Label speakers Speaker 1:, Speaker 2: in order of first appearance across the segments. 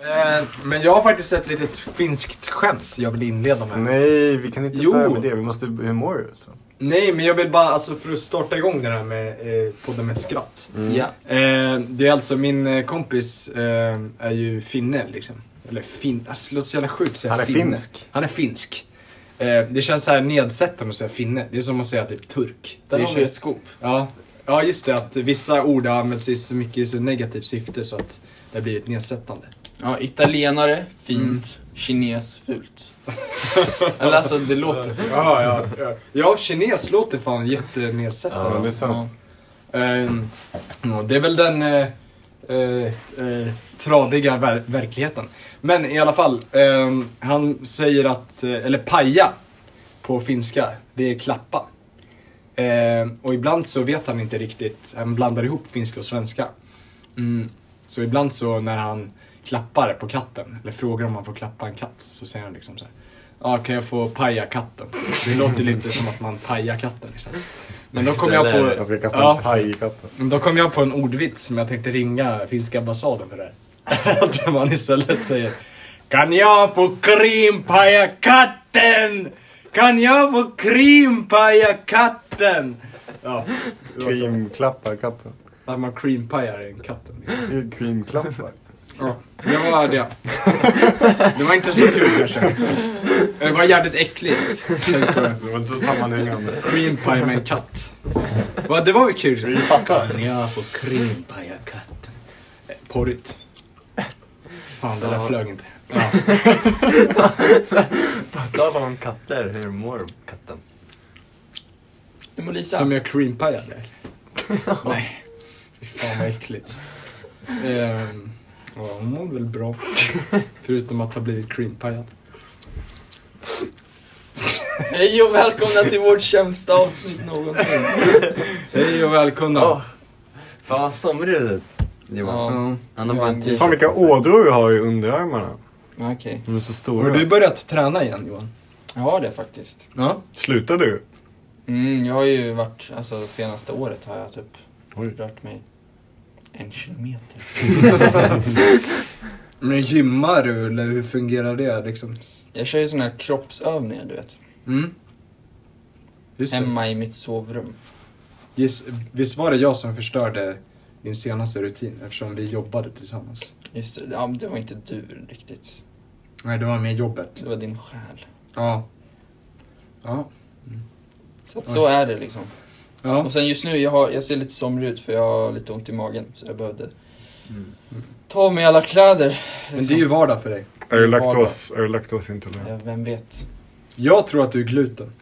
Speaker 1: Eh, men jag har faktiskt ett litet finskt skämt jag vill inleda med.
Speaker 2: Nej, vi kan inte
Speaker 1: Jo.
Speaker 2: börja med det. Vi måste... Hur mår du? Så.
Speaker 1: Nej, men jag vill bara, alltså för att starta igång det här med eh, podden med ett skratt.
Speaker 2: Mm.
Speaker 3: Ja.
Speaker 1: Eh, det är alltså min eh, kompis eh, är ju finne liksom. Eller fin... Alltså, det låter så jävla sjukt att säga
Speaker 2: Han är
Speaker 1: finne.
Speaker 2: finsk.
Speaker 1: Han är finsk. Eh, det känns så här nedsättande att säga finne. Det är som att säga typ turk.
Speaker 3: Där
Speaker 1: det
Speaker 3: har vi
Speaker 1: känns-
Speaker 3: ett scoop.
Speaker 1: Ja. ja, just det. Att vissa ord används i så mycket i så negativt syfte så att det blir ett nedsättande.
Speaker 3: Ja, italienare, fint. Kines, fult. Eller alltså, det låter fult.
Speaker 1: Ja, ja, ja. ja kines låter fan jättenedsättande.
Speaker 2: Ja, det är sant.
Speaker 1: Ehm, ja, det är väl den eh, eh, eh, tradiga ver- verkligheten. Men i alla fall, ehm, han säger att, eh, eller paja på finska, det är klappa. Ehm, och ibland så vet han inte riktigt, han blandar ihop finska och svenska. Mm, så ibland så när han klappar på katten, eller frågar om han får klappa en katt, så säger han liksom så här. Ja, kan jag få paja katten? Det låter lite som att man pajar katten liksom. Men då kom jag på...
Speaker 2: Jag ska kasta
Speaker 1: Ja.
Speaker 2: alltså, en paj i katten.
Speaker 1: Men Då kom jag på en ordvits men jag tänkte ringa finska ambassaden för det här. Att man istället säger Kan jag få krimpaja katten? Kan jag få krimpaja katten? Ja, det var så.
Speaker 2: Creamklappar katten.
Speaker 1: Att man creampajar en katten. liksom.
Speaker 2: Det är Creamklappar.
Speaker 1: Ja, det var det. Det var inte så kul kanske. Det var jävligt äckligt. Tänk på det.
Speaker 2: Det var inte sammanhängande.
Speaker 1: Creampaj med en katt. Va, det var väl kul?
Speaker 2: Creampaj.
Speaker 1: Kan jag få creampaja katten? Eh, Porrigt. Fan, det där flög inte. Ja.
Speaker 4: Prata om katter, hur mår katten?
Speaker 3: Du mår Lisa.
Speaker 1: Som jag creampajade? Nej. Fy Fan vad äckligt. Ehm, ja, hon mår väl bra. Förutom att ha blivit creampajad.
Speaker 3: Hej och välkomna till vårt sämsta avsnitt någonsin.
Speaker 1: Hej och välkomna.
Speaker 4: Åh, Fan vad somrig du ser ut,
Speaker 3: Ja.
Speaker 4: Johan.
Speaker 1: Ja.
Speaker 4: Han har bara en t-shirt
Speaker 2: Fan vilka
Speaker 4: på sig.
Speaker 2: ådror du har i underarmarna.
Speaker 3: Okej.
Speaker 2: De är så
Speaker 1: Har
Speaker 2: stora.
Speaker 1: du börjat träna igen Johan?
Speaker 3: Jag har det faktiskt.
Speaker 1: Ja.
Speaker 2: Slutar du?
Speaker 3: Mm, jag har ju varit, alltså senaste året har jag typ
Speaker 2: Oj.
Speaker 3: rört mig en kilometer.
Speaker 1: Men gymmar du eller hur fungerar det liksom?
Speaker 3: Jag kör ju såna här kroppsövningar du vet.
Speaker 1: Mm. Just det.
Speaker 3: Hemma i mitt sovrum.
Speaker 1: Giss, visst var det jag som förstörde din senaste rutin eftersom vi jobbade tillsammans?
Speaker 3: Just det, ja, men det var inte du riktigt.
Speaker 1: Nej, det var med jobbet.
Speaker 3: Det var din själ.
Speaker 1: Ja. Ja.
Speaker 3: Så, att så är det liksom.
Speaker 1: Ja.
Speaker 3: Och sen just nu, jag, har, jag ser lite somrig ut för jag har lite ont i magen. Så jag behövde ta av mig alla kläder. Liksom.
Speaker 1: Men det är ju vardag för dig.
Speaker 2: Är du
Speaker 3: Min far
Speaker 2: laktos? Är du laktosintolerant?
Speaker 3: ja, Vem vet.
Speaker 1: Jag tror att du är gluten.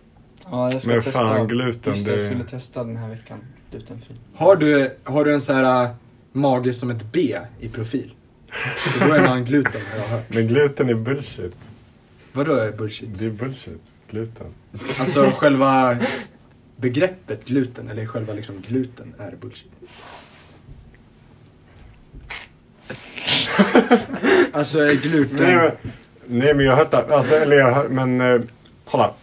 Speaker 3: Ja, jag ska
Speaker 2: Men
Speaker 3: testa.
Speaker 2: fan gluten,
Speaker 3: Just det, jag skulle
Speaker 2: det...
Speaker 3: testa den här veckan. Glutenfri.
Speaker 1: Har du, har du en sån här äh, mage som ett B i profil? Då är man gluten har jag hört.
Speaker 2: Men gluten är bullshit.
Speaker 1: Vadå är bullshit?
Speaker 2: Det är bullshit. Gluten.
Speaker 1: Alltså själva begreppet gluten, eller själva liksom gluten, är bullshit. Alltså är gluten...
Speaker 2: Nej men, nej, men jag har hört det. Alltså, eller jag har, men eh, kolla.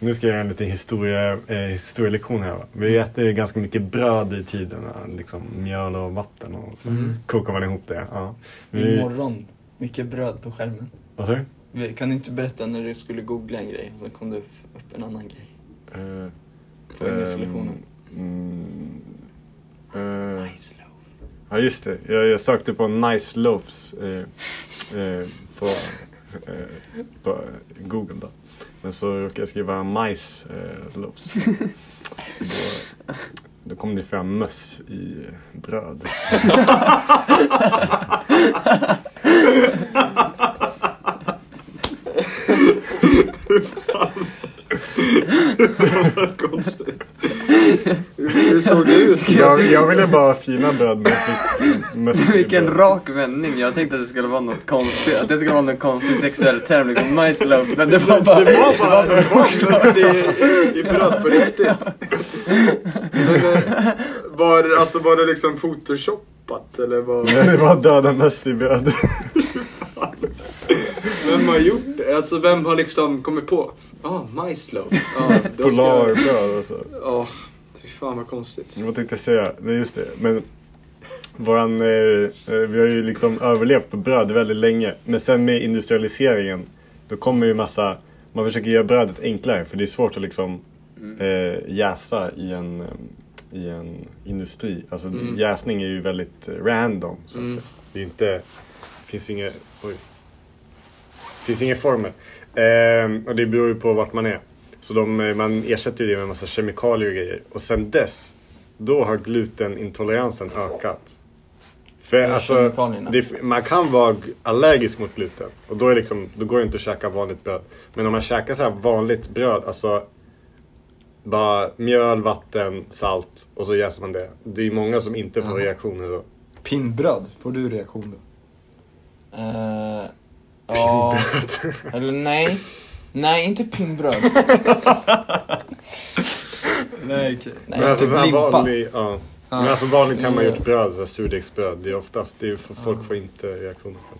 Speaker 2: Nu ska jag göra en liten historia, eh, historielektion här. Va? Vi äter ju ganska mycket bröd i tiden. va? Liksom mjöl och vatten och så
Speaker 1: Mm.
Speaker 2: kokar man ihop det. Ja. Vi,
Speaker 3: Imorgon. Mycket bröd på skärmen.
Speaker 2: vad sa du?
Speaker 3: Vi- Kan du inte berätta när du skulle googla en grej och sen kom det f- upp en annan grej? På
Speaker 2: Ehm,
Speaker 3: engelslektionen. Nice loaf.
Speaker 2: mm, eh, Ja just det, jag, jag sökte på nice loaves eh, eh, på, eh, på google då. Men så råkade jag skriva majs eh, loaves. Då, då kom det fram möss i bröd.
Speaker 1: Hur såg det ut?
Speaker 2: Jag, jag ville bara ha fina bröd men jag fick möss i
Speaker 4: Vilken
Speaker 2: bröd.
Speaker 4: rak vändning, jag tänkte att det skulle vara något konstigt, att det skulle vara någon konstig sexuell term liksom, nice love, men det var bara...
Speaker 1: Det var bara det var möss i, i bröd på riktigt. Men, eh, var, alltså, var det liksom photoshoppat eller vad?
Speaker 2: Det var döda möss i bröd.
Speaker 1: Vem har gjort det? Alltså vem har liksom kommit på? Ja, ah, majsloaf. Ah, då ska jag-
Speaker 2: Polarbröd och så.
Speaker 1: Ja, fy fan vad konstigt.
Speaker 2: Vad tänkte jag säga? Nej just det, men Våran, eh, eh, vi har ju liksom överlevt på bröd väldigt länge. Men sen med industrialiseringen, då kommer ju massa... Man försöker göra brödet enklare för det är svårt att liksom
Speaker 1: Mm.
Speaker 2: eh, jäsa i en, eh, i en industri. Alltså
Speaker 1: Mm.
Speaker 2: jäsning är ju väldigt eh, random. Så att
Speaker 1: Mm.
Speaker 2: säga. Det är inte... finns inget... Oj. finns ingen formel. Eh, och det beror ju på vart man är. Så de, eh, man ersätter ju det med en massa kemikalier och grejer. Och sen dess, då har glutenintoleransen ökat. För
Speaker 3: Eller
Speaker 2: alltså,
Speaker 3: kemikalierna.
Speaker 2: det, man kan vara g- allergisk mot gluten och då, är liksom, då går det inte att käka vanligt bröd. Men om man käkar så här vanligt bröd, alltså bara mjöl, vatten, salt och så jäser man det. Det är många som inte får
Speaker 1: Jaha.
Speaker 2: reaktioner då.
Speaker 1: Pinnbröd, får du reaktion då?
Speaker 3: Eh, ja, eller nej. Nej, inte pinnbröd.
Speaker 1: Nej, okej.
Speaker 3: Nej,
Speaker 2: Men alltså,
Speaker 1: typ
Speaker 2: sån här
Speaker 1: limpa.
Speaker 2: vanlig, ja. Men alltså vanligt hemmagjort
Speaker 3: Mm.
Speaker 2: bröd, så här surdegsbröd, det är oftast, det är, för folk får inte reaktioner från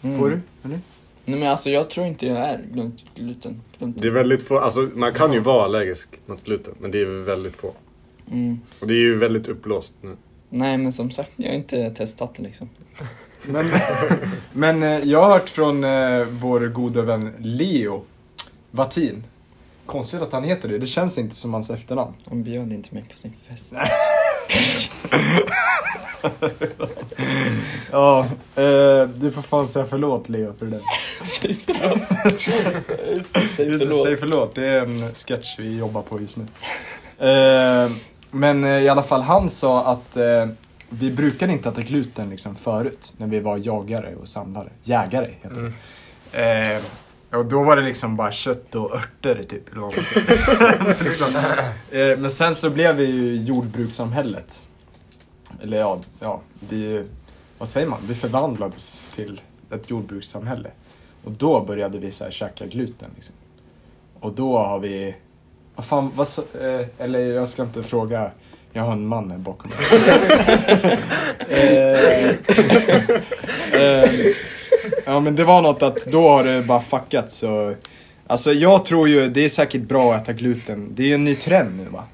Speaker 2: det.
Speaker 3: Mm.
Speaker 1: Får du? Eller?
Speaker 3: Nej men alltså jag tror inte jag är glunt- gluten. gluten.
Speaker 2: Det är väldigt få, alltså man kan ju vara allergisk mot gluten, men det är väldigt få.
Speaker 3: Mm.
Speaker 2: Och det är ju väldigt uppblåst nu.
Speaker 3: Nej men som sagt, jag har inte testat det liksom.
Speaker 1: Men, men eh, jag har hört från eh, vår goda vän Leo Vatin. Konstigt att han heter det, det känns inte som hans efternamn.
Speaker 3: Han bjöd inte mig på sin fest.
Speaker 1: Ja, eh, du får fan säga förlåt Leo för det där.
Speaker 3: Säg
Speaker 1: Just det, Säg förlåt, det är en sketch vi jobbar på just nu. Eh, men eh, i alla fall, han sa att eh, vi brukade inte äta gluten liksom förut när vi var jagare och samlare. Jägare heter det. Eh, och då var det liksom bara kött och örter typ. eller vad man ska- Det är klart. eh, men sen så blev vi ju jordbrukssamhället. Eller ja, ja vi, vad säger man? Vi förvandlades till ett jordbrukssamhälle. Och då började vi så här käka gluten. Liksom. Och då har vi... Vad fan, vad så, eh, Eller jag ska inte fråga. Jag har en man här bakom mig. eh, eh, ja men det var något att då har det bara fuckat så... Alltså jag tror ju, det är säkert bra att äta gluten. Det är ju en ny trend nu va?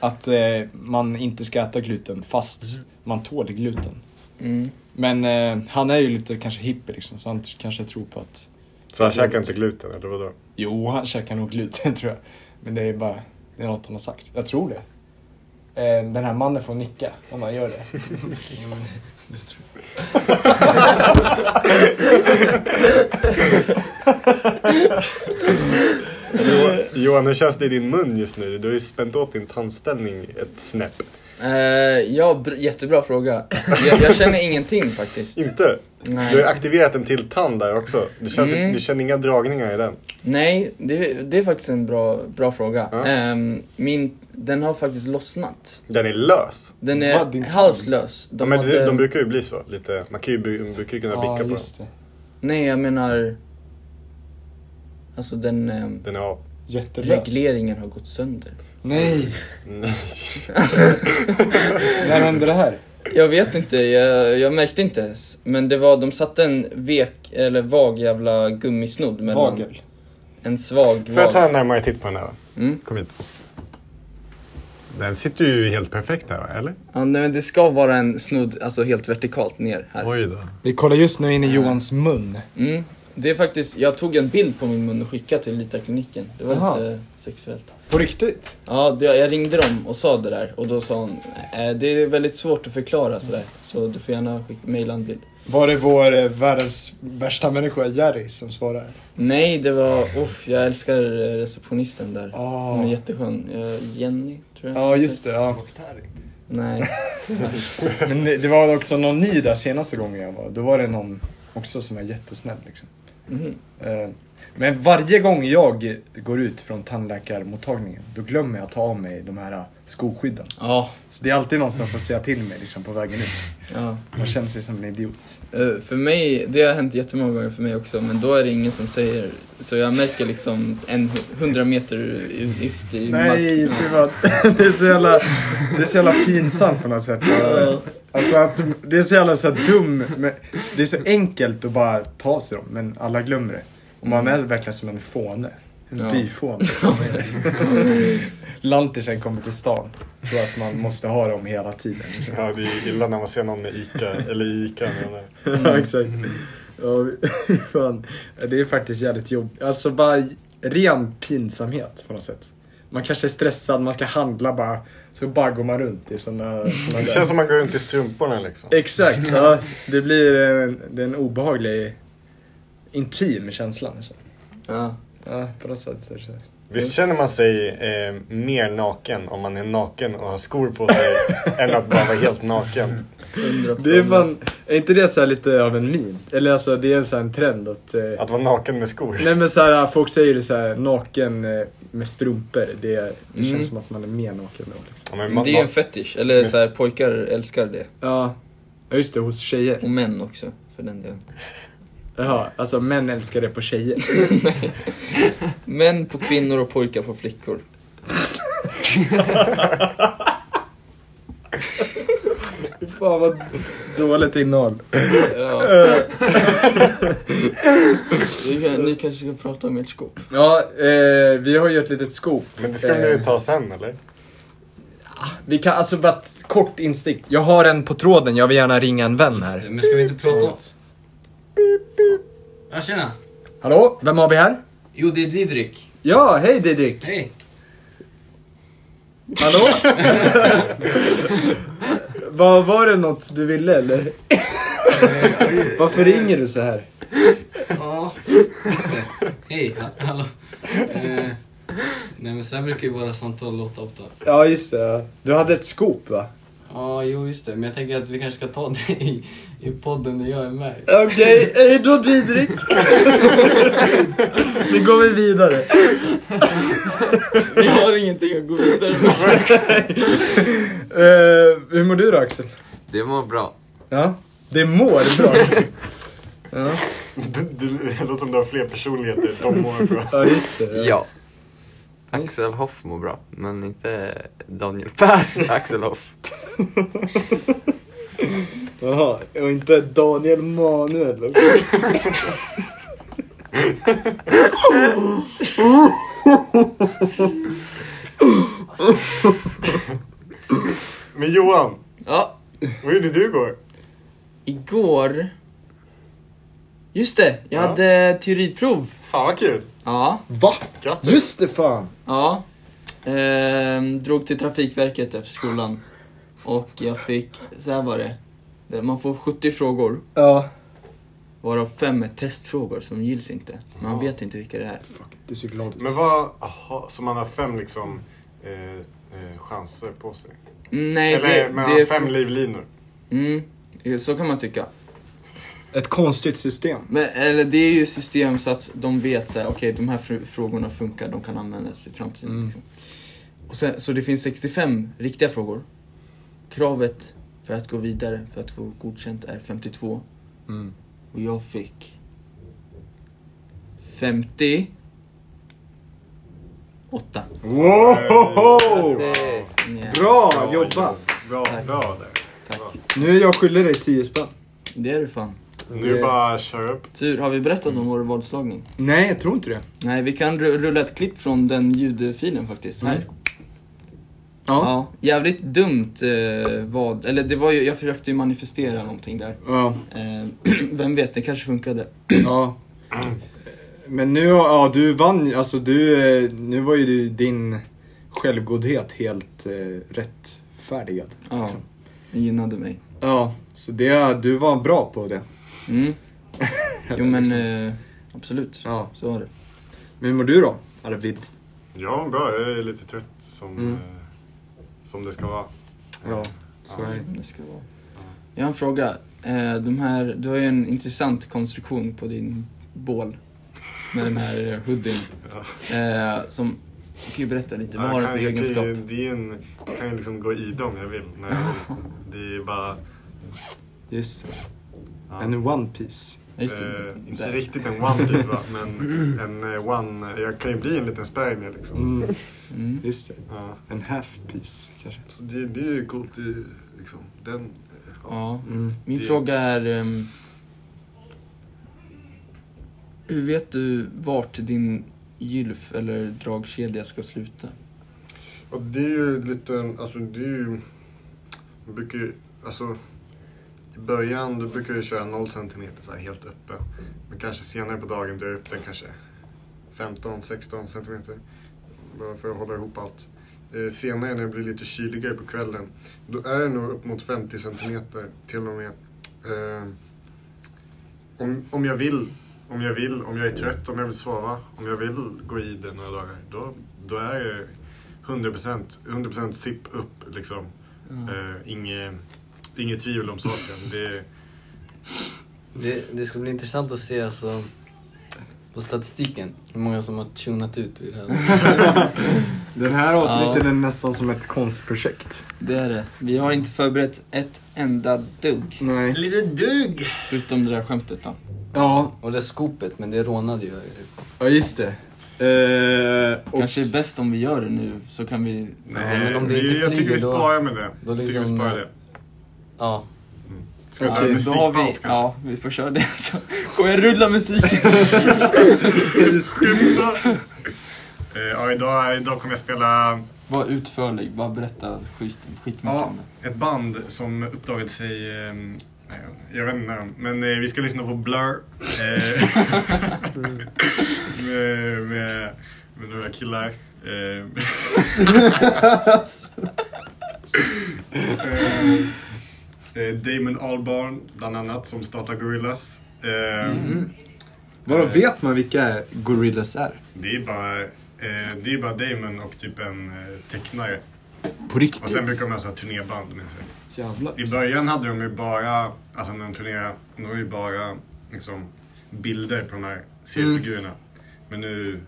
Speaker 1: Att eh, man inte ska äta gluten fast man tål gluten.
Speaker 3: Mm.
Speaker 1: Men eh, han är ju lite kanske hippie liksom, så han t- kanske tror på att...
Speaker 2: Så han käkar inte gluten, eller vadå?
Speaker 1: Jo, han käkar nog gluten tror jag. Men det är bara, det är något han har sagt. Jag tror det. Eh, den här mannen får nicka om han gör det.
Speaker 2: Jo, Johan, hur känns det i din mun just nu? Du har ju spänt åt din tandställning ett snäpp.
Speaker 3: Eh, ja, br- jättebra fråga. Jag, jag känner ingenting faktiskt.
Speaker 2: Inte? Du har ju
Speaker 3: Nej,
Speaker 2: aktiverat en till tand där också. Du, känns,
Speaker 3: Mm.
Speaker 2: du känner inga dragningar i den.
Speaker 3: Nej det, det är faktiskt en bra, bra fråga.
Speaker 2: Ja.
Speaker 3: Ehm, min, den har faktiskt lossnat.
Speaker 2: Den är lös.
Speaker 3: Den
Speaker 1: Va,
Speaker 3: är
Speaker 1: din tand?
Speaker 3: halvt lös.
Speaker 2: De, men
Speaker 3: hade-
Speaker 2: de, de brukar ju bli så. Lite, man kan ju, by- brukar ju kunna bicka på dem.
Speaker 1: det.
Speaker 3: Nej, jag menar... Alltså den... ehm,
Speaker 2: Den är av.
Speaker 1: Jättelös.
Speaker 3: regleringen har gått sönder.
Speaker 1: Nej,
Speaker 2: Nej.
Speaker 1: när hände det här?
Speaker 3: Jag vet inte, jag, jag märkte inte ens. Men det var, de satte en vek, eller vag jävla gummisnodd mellan...
Speaker 1: Vagel.
Speaker 3: En svag
Speaker 2: Får jag ta
Speaker 3: vag.
Speaker 2: en närmare titt på den här då?
Speaker 3: Mm.
Speaker 2: Kom hit. Den sitter ju helt perfekt här, va? eller?
Speaker 3: Ja, nej, men det ska vara en snodd, alltså helt vertikalt ner här.
Speaker 2: Oj då.
Speaker 1: Vi kollar just nu in i Johans mun.
Speaker 3: Mm. Det är faktiskt, jag tog en bild på min mun och skickade till Litakliniken. Det var
Speaker 1: Jaha.
Speaker 3: lite sexuellt.
Speaker 1: På riktigt?
Speaker 3: Ja, det, jag ringde dem och sa det där och då sa hon, eh, det är väldigt svårt att förklara sådär. Så du får gärna skicka, mejla en bild.
Speaker 1: Var det vår eh, världens värsta människa, Jerry, som svarade?
Speaker 3: Nej, det var, uff, jag älskar eh, receptionisten där.
Speaker 1: Ja,
Speaker 3: Hon är jätteskön. Eh, Jenny, tror jag.
Speaker 1: Ah. Ja, just det. Ja.
Speaker 3: Nej.
Speaker 1: Men det, det var också någon ny där senaste gången jag var. Då var det någon också som var jättesnäll liksom.
Speaker 3: Mhm.
Speaker 1: Eh, Men varje gång jag går ut från tandläkarmottagningen då glömmer jag att ta av mig de här eh, skoskydden.
Speaker 3: Ja.
Speaker 1: Så det är alltid någon som får säga till mig liksom, på vägen ut.
Speaker 3: ja.
Speaker 1: Man känner sig som en idiot.
Speaker 3: Eh, För mig, det har hänt jättemånga gånger för mig också, men då är det ingen som säger, så jag märker liksom en hundra meter ut ut i marken.
Speaker 1: Nej, fy fan. Det är så jävla, det är så jävla pinsamt på något sätt. Alltså att, det är så jävla så här dum, men det är så enkelt att bara ta sig dem, men alla glömmer det. Och man är verkligen som en fåne.
Speaker 5: En
Speaker 3: Mm. Ja.
Speaker 5: byfån.
Speaker 1: Lantisen kommer till stan. Jag tror att man måste ha dem hela tiden. liksom.
Speaker 2: Ja, det är illa när man ser någon med Ica, eller i Ica menar jag.
Speaker 1: Mm.
Speaker 5: ja, exakt. Ja, vi- fan.
Speaker 1: Det är faktiskt jävligt jobbigt. Alltså bara ren pinsamhet på något sätt. Man kanske är stressad, man ska handla bara. Så bara går man runt i sådana... Såna
Speaker 2: Det
Speaker 1: där-
Speaker 2: känns som man går runt i strumporna liksom.
Speaker 3: Eh,
Speaker 1: Exakt, ja. Det blir en, det är en obehaglig, intim känsla nästan.
Speaker 3: Ja.
Speaker 1: Ja, på något sätt. är det så.
Speaker 2: Visst känner man sig eh, mer naken om man är naken och har skor på sig än att bara vara helt naken?
Speaker 3: Undra på
Speaker 1: Det är fan, är inte det så här lite av en meme? Eller alltså det är så här en trend att... Eh,
Speaker 2: Att vara naken med skor?
Speaker 1: nej men så här, folk säger det så här, naken eh, med strumpor. Det, det
Speaker 3: Mm.
Speaker 1: känns som att man är mer naken då. Liksom.
Speaker 2: Ja, men
Speaker 3: Men
Speaker 2: man,
Speaker 3: det är en fetisch, eller
Speaker 2: Miss-
Speaker 3: så här, pojkar älskar det.
Speaker 1: Ja, ja, just det, hos tjejer.
Speaker 3: Och män också, för den delen.
Speaker 1: Jaha, alltså män älskar det på tjejer.
Speaker 3: Män på kvinnor och pojkar på flickor.
Speaker 1: Fan vad dåligt innehåll.
Speaker 3: Ja.
Speaker 1: Eh.
Speaker 3: Vi kan, ni kanske kan prata om ert skåp?
Speaker 1: Ja, eh, vi har ju ett litet skop.
Speaker 2: men det ska ni
Speaker 1: Eh.
Speaker 2: ta sen eller?
Speaker 1: Vi kan, alltså bara ett kort instick. Jag har en på tråden, jag vill gärna ringa en vän här.
Speaker 6: Men ska vi inte prata åt? Ja tjena!
Speaker 1: Hallå, vem har vi här?
Speaker 6: Jo det är Didrik.
Speaker 1: Ja, hej Didrik.
Speaker 6: Hej!
Speaker 1: Hallå? Vad Var det något du ville eller? Varför ringer du så här?
Speaker 6: Ja, just det. Hej, ha- hallå. Eh, nej men så här brukar ju våra samtal låta ofta.
Speaker 1: Ja, just det. ja. Du hade ett skop va?
Speaker 6: Ja, jo just det. Men jag tänker att vi kanske ska ta det i, i podden där jag är med.
Speaker 1: Okej, hej då Didrik. Nu går vi vidare.
Speaker 3: Vi har ingenting att gå vidare med.
Speaker 1: Eh, hur mår du då Axel?
Speaker 4: Det mår bra.
Speaker 1: Ja, det mår bra.
Speaker 2: Det, det, det låter som du har fler personligheter. De mår bra.
Speaker 1: Ja, just det.
Speaker 4: Ja. Axel Hoff mår bra, men inte Daniel Per Axel Hoff.
Speaker 1: Jaha, och inte Daniel Manuel.
Speaker 2: Men Johan,
Speaker 3: Ja,
Speaker 2: vad gjorde du igår?
Speaker 3: igår... Just det, jag
Speaker 2: Ja.
Speaker 3: hade teoriprov.
Speaker 2: Fan vad kul!
Speaker 3: Ja,
Speaker 1: Va?
Speaker 2: Grattis!
Speaker 1: Just det fan.
Speaker 3: ja. Ehm, drog till Trafikverket efter skolan. Och jag fick, så här var det. Det- Man får 70 frågor,
Speaker 1: Ja.
Speaker 3: varav fem är testfrågor som gills inte. Man vet inte vilka det är.
Speaker 1: Du ser glad ut.
Speaker 2: Men vad, aha, så man har fem liksom eh, eh, chanser på sig?
Speaker 3: Nej,
Speaker 2: Eller
Speaker 3: det,
Speaker 2: man
Speaker 3: det
Speaker 2: har fem livlinor?
Speaker 3: Mm, så kan man tycka.
Speaker 1: Ett konstigt system.
Speaker 3: Men, eller det är ju system så att de vet så här, okej de här fr- frågorna funkar, de kan användas i framtiden.
Speaker 1: Mm.
Speaker 3: Liksom. Och sen, så det finns 65 riktiga frågor. Kravet för att gå vidare, för att få godkänt, är 52.
Speaker 1: Mm.
Speaker 3: Och jag fick 58.
Speaker 1: Wow!
Speaker 3: Nja,
Speaker 1: Bra jobbat!
Speaker 2: Bra,
Speaker 3: Tack.
Speaker 2: bra där.
Speaker 3: Tack.
Speaker 1: Nu är jag skyldig dig 10 spänn.
Speaker 3: Det är du fan.
Speaker 2: Nu
Speaker 1: Det-
Speaker 2: bara att köra upp.
Speaker 3: Tur, har vi berättat om vår vadslagning?
Speaker 1: Nej, jag tror inte det.
Speaker 3: Nej, vi kan ru- rulla ett klipp från den ljudfilen faktiskt. Här.
Speaker 1: Mm. Ja.
Speaker 3: Ja, jävligt dumt eh, vad, eller det var ju, jag försökte ju manifestera någonting där.
Speaker 1: Ja.
Speaker 3: Eh, vem vet, det kanske funkade.
Speaker 1: ja. Men nu, har- ja du vann ju- alltså du, eh, nu var ju du- din självgodhet helt eh, rättfärdigad.
Speaker 3: Ja, det gynnade mig.
Speaker 1: Ja, så det, du var bra på det. Liksom.
Speaker 3: Mm. Jo men, eh, absolut.
Speaker 1: Ja.
Speaker 3: Så var det.
Speaker 1: Men hur mår du då, Arvid?
Speaker 2: Ja, bra. Jag är lite trött som,
Speaker 1: Mm.
Speaker 2: eh, som det ska vara.
Speaker 1: Ja,
Speaker 2: så är
Speaker 3: Som det ska vara. Jag har en fråga. Eh, de här, du har ju en intressant konstruktion på din bål. Med den här eh, hoodien. Eh, som, du kan ju berätta lite, vad
Speaker 2: Jag
Speaker 3: har den
Speaker 2: kan
Speaker 3: för
Speaker 2: ju-
Speaker 3: egenskap?
Speaker 2: Det, är- det är en, jag kan ju liksom gå i dem jag vill. När jag vill. Det är bara...
Speaker 1: Just det.
Speaker 2: Ja.
Speaker 1: En One Piece.
Speaker 3: Ja, Just det,
Speaker 2: eh, inte
Speaker 3: där.
Speaker 2: riktigt en one piece va, men en eh, one... Jag kan ju bli en liten spermie liksom.
Speaker 1: Mm,
Speaker 3: Mm.
Speaker 1: just det.
Speaker 2: Ja.
Speaker 1: En half piece kanske.
Speaker 2: Så det, det er är ju coolt i, øh, liksom, den... eh, Ja.
Speaker 3: Ja.
Speaker 1: Mm.
Speaker 3: Min
Speaker 2: Det-
Speaker 3: fråga är... ehm, hur vet du vart din gylf eller dragkedja ska sluta.
Speaker 2: Och det är ju lite, alltså det är ju... Man brukar ju, alltså... I början då brukar jag köra 0 cm så här helt uppe. Men kanske senare på dagen drar jag upp den kanske 15-16 cm. Bara för att hålla ihop allt. Eh, senare när det blir lite kyligare på kvällen, då är det nog upp mot 50 cm till och med. Eh, om, om jag vill, om jag vill, om jag är trött, om jag vill sova, om jag vill gå i det några dagar, då, då är det 100%, 100% sipp upp liksom.
Speaker 6: Mm.
Speaker 3: Ja.
Speaker 2: Eh, inget, inget tvivel om saken. Det,
Speaker 6: Det, det ska bli intressant att se alltså, på statistiken hur många som har tunat ut vid det här.
Speaker 1: Den här avsnittet
Speaker 3: Ja.
Speaker 1: är nästan som ett konstprojekt.
Speaker 3: Det är det. Vi har inte förberett ett enda dugg.
Speaker 1: Nej.
Speaker 2: Lite dugg!
Speaker 3: Förutom det där skämtet då.
Speaker 1: Ja,
Speaker 6: Och det skopet, men det rånade ju jag ju.
Speaker 1: ja just det. Eh, och,
Speaker 3: Kanske är bäst om vi gör det nu, så kan vi...
Speaker 2: Nej,
Speaker 6: men om det
Speaker 2: vi-
Speaker 6: inte
Speaker 2: jag tycker vi
Speaker 6: flyger, då-
Speaker 2: sparar med det.
Speaker 6: då
Speaker 2: jag tycker vi
Speaker 6: liksom-
Speaker 2: sparar det.
Speaker 6: Ja,
Speaker 2: Ska vi ta
Speaker 1: Okej,
Speaker 2: en
Speaker 3: men då har
Speaker 2: musikpaus
Speaker 3: vi,
Speaker 2: kanske?
Speaker 3: ja, vi får köra det. Så kommer jag rulla musiken.
Speaker 2: Eh, ja, idag, idag kommer jag spela
Speaker 3: Var utförlig, bara berätta skit, skit mycket
Speaker 2: Ja.
Speaker 3: om det.
Speaker 2: ett band som uppdagade sig... ehm, nej, jag vet inte när de- Men eh, vi ska lyssna på Blur. Eh, med, med, med några killar. Eh, eh, eh, Damon Albarn bland annat som startar Gorillaz. Eh,
Speaker 1: vadå, vet man vilka Gorillas är?
Speaker 2: Det är bara, eh, det är bara Damon och typ en eh, tecknare.
Speaker 1: På riktigt?
Speaker 2: Och sen brukar de ha så här turnéband med sig.
Speaker 1: Jävlar.
Speaker 2: I början hade de ju bara, alltså när de turnerade, de var ju bara liksom, bilder på de här seriefigurerna.
Speaker 1: Mm.
Speaker 2: Men nu,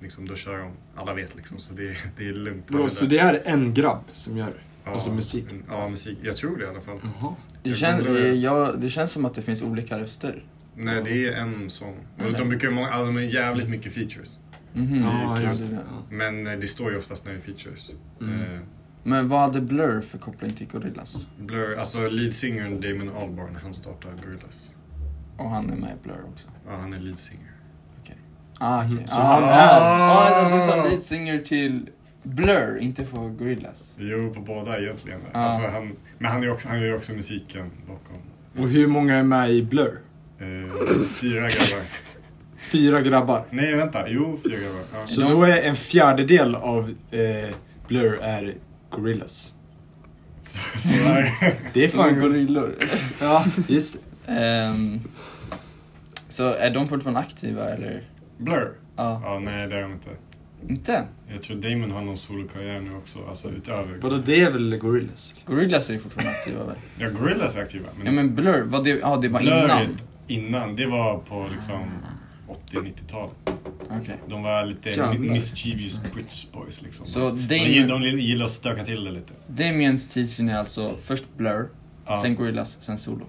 Speaker 2: liksom, då kör de, alla vet liksom, så det, det är lugnt.
Speaker 1: Vadå, så det här är en grabb som gör det?
Speaker 2: ja,
Speaker 1: alltså musik? Mm.
Speaker 2: Ja, musik. Jag tror det i alla fall.
Speaker 1: Jaha.
Speaker 3: Det,
Speaker 2: Jag
Speaker 3: kän,
Speaker 2: googlar det.
Speaker 3: jag, det känns som att det finns olika röster.
Speaker 2: Nej, det är en sång.
Speaker 1: Mm.
Speaker 2: Och
Speaker 3: Eller?
Speaker 2: de brukar ju många, alltså, de har jävligt mycket features.
Speaker 3: Mhm.
Speaker 1: Ja,
Speaker 3: Ja,
Speaker 1: just
Speaker 3: det är
Speaker 1: det.
Speaker 3: det.
Speaker 1: Ja.
Speaker 2: Men eh, det står ju oftast när det är features.
Speaker 1: Mm.
Speaker 2: Eh,
Speaker 3: Men vad hade Blur för koppling till Gorillas?
Speaker 2: Blur, alltså leadsingern Damon Albarn, han startar Gorillaz.
Speaker 3: Och han är med i Blur också.
Speaker 2: Ja, han är leadsinger.
Speaker 3: Ah, okej.
Speaker 1: Mm, Så
Speaker 3: ah,
Speaker 1: han
Speaker 3: han är... Ah, du sa lead singer till Blur, inte för Gorillas.
Speaker 2: Jo, på båda egentligen.
Speaker 1: Ah.
Speaker 3: Ja.
Speaker 2: Alltså, han, men han, är också, han gör ju också musiken bakom.
Speaker 1: Och hur många är med i Blur?
Speaker 2: Eh, fyra grabbar.
Speaker 1: Fyra grabbar.
Speaker 2: Nej, vänta. Jo, fyra grabbar. Ja.
Speaker 1: Så då är en fjärdedel av eh, Blur är Gorillas.
Speaker 2: Så, så där.
Speaker 1: Det är fan Gorillaz.
Speaker 3: gorillor.
Speaker 1: Ja, just det.
Speaker 3: Ehm, så är de fortfarande aktiva eller?
Speaker 2: Blur?
Speaker 3: Ja,
Speaker 2: Ja, nej, det är de inte.
Speaker 3: inte?
Speaker 2: Jag tror Damon har någon solokarriär nu också, alltså utöver...
Speaker 1: Vadå, det är väl Gorillas?
Speaker 3: Gorillas är ju fortfarande aktiva väl?
Speaker 2: Ja, Gorillaz är aktiva. Men,
Speaker 3: Ja men Blur, vad det, ja det var
Speaker 2: Blur
Speaker 3: innan?
Speaker 2: innan, det var på liksom 80-90-talet.
Speaker 3: Okej.
Speaker 2: De var lite
Speaker 3: Jävlar.
Speaker 2: mischievous British boys liksom.
Speaker 3: Så
Speaker 2: De, gill-
Speaker 3: Damien,
Speaker 2: de gillar att stöka till det lite.
Speaker 3: Damiens tidslinje är alltså först Blur,
Speaker 2: Ja,
Speaker 3: sen Gorillas, sen Solo.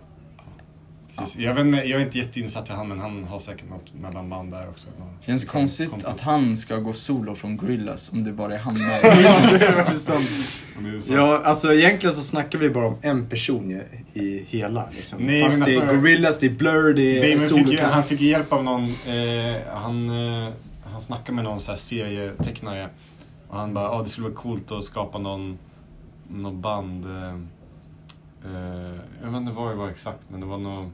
Speaker 2: precis. Jag, vet, inte- jag är inte jätteinsatt i han, men han har säkert något mellanband där också. Ja,
Speaker 3: Känns
Speaker 2: liksom,
Speaker 3: konstigt
Speaker 2: kompis.
Speaker 3: att han ska gå solo från Gorillas om det bara är han med.
Speaker 2: Men det är sant.
Speaker 1: Ja, alltså egentligen så snackar vi bara om en person i, i hela. Liksom.
Speaker 2: Nej,
Speaker 1: Fast
Speaker 2: men
Speaker 1: det är
Speaker 2: alltså-
Speaker 1: Gorillas, det är Blur, det är
Speaker 2: Damon fick ju,
Speaker 1: Solo.
Speaker 2: han fick ju hjälp av någon, eh, han, eh, han snackade med någon så här serietecknare och han bara, ah, det skulle vara coolt att skapa någon, någon band. Eh, eh, jag vet inte vad det var exakt, men det var nog...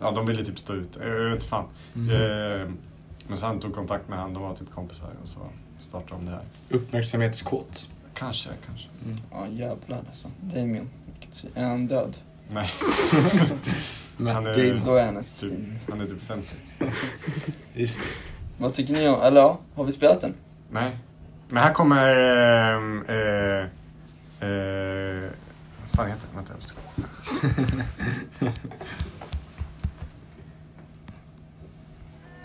Speaker 2: Ja, de ville typ stå ut. Eh, Jag vet fan.
Speaker 1: Mm.
Speaker 2: Eh, men så han tog kontakt med han, de var typ kompisar och så startade de det här.
Speaker 1: Uppmärksamhetskåt.
Speaker 2: Kanske, kanske.
Speaker 3: Ja jävlar alltså. Damien, vilket svin. är han död?
Speaker 2: Nej,
Speaker 1: Matt
Speaker 2: Han är-
Speaker 1: Damon.
Speaker 3: Då är han ett
Speaker 2: Eh, typ,
Speaker 3: svin.
Speaker 2: han är typ 50.
Speaker 1: Just
Speaker 3: Vad tycker ni om, eller ja, har vi spelat den?
Speaker 2: Nej. Men här kommer... ehm, Eh, eh, vad fan heter den? Vänta, jag måste kolla.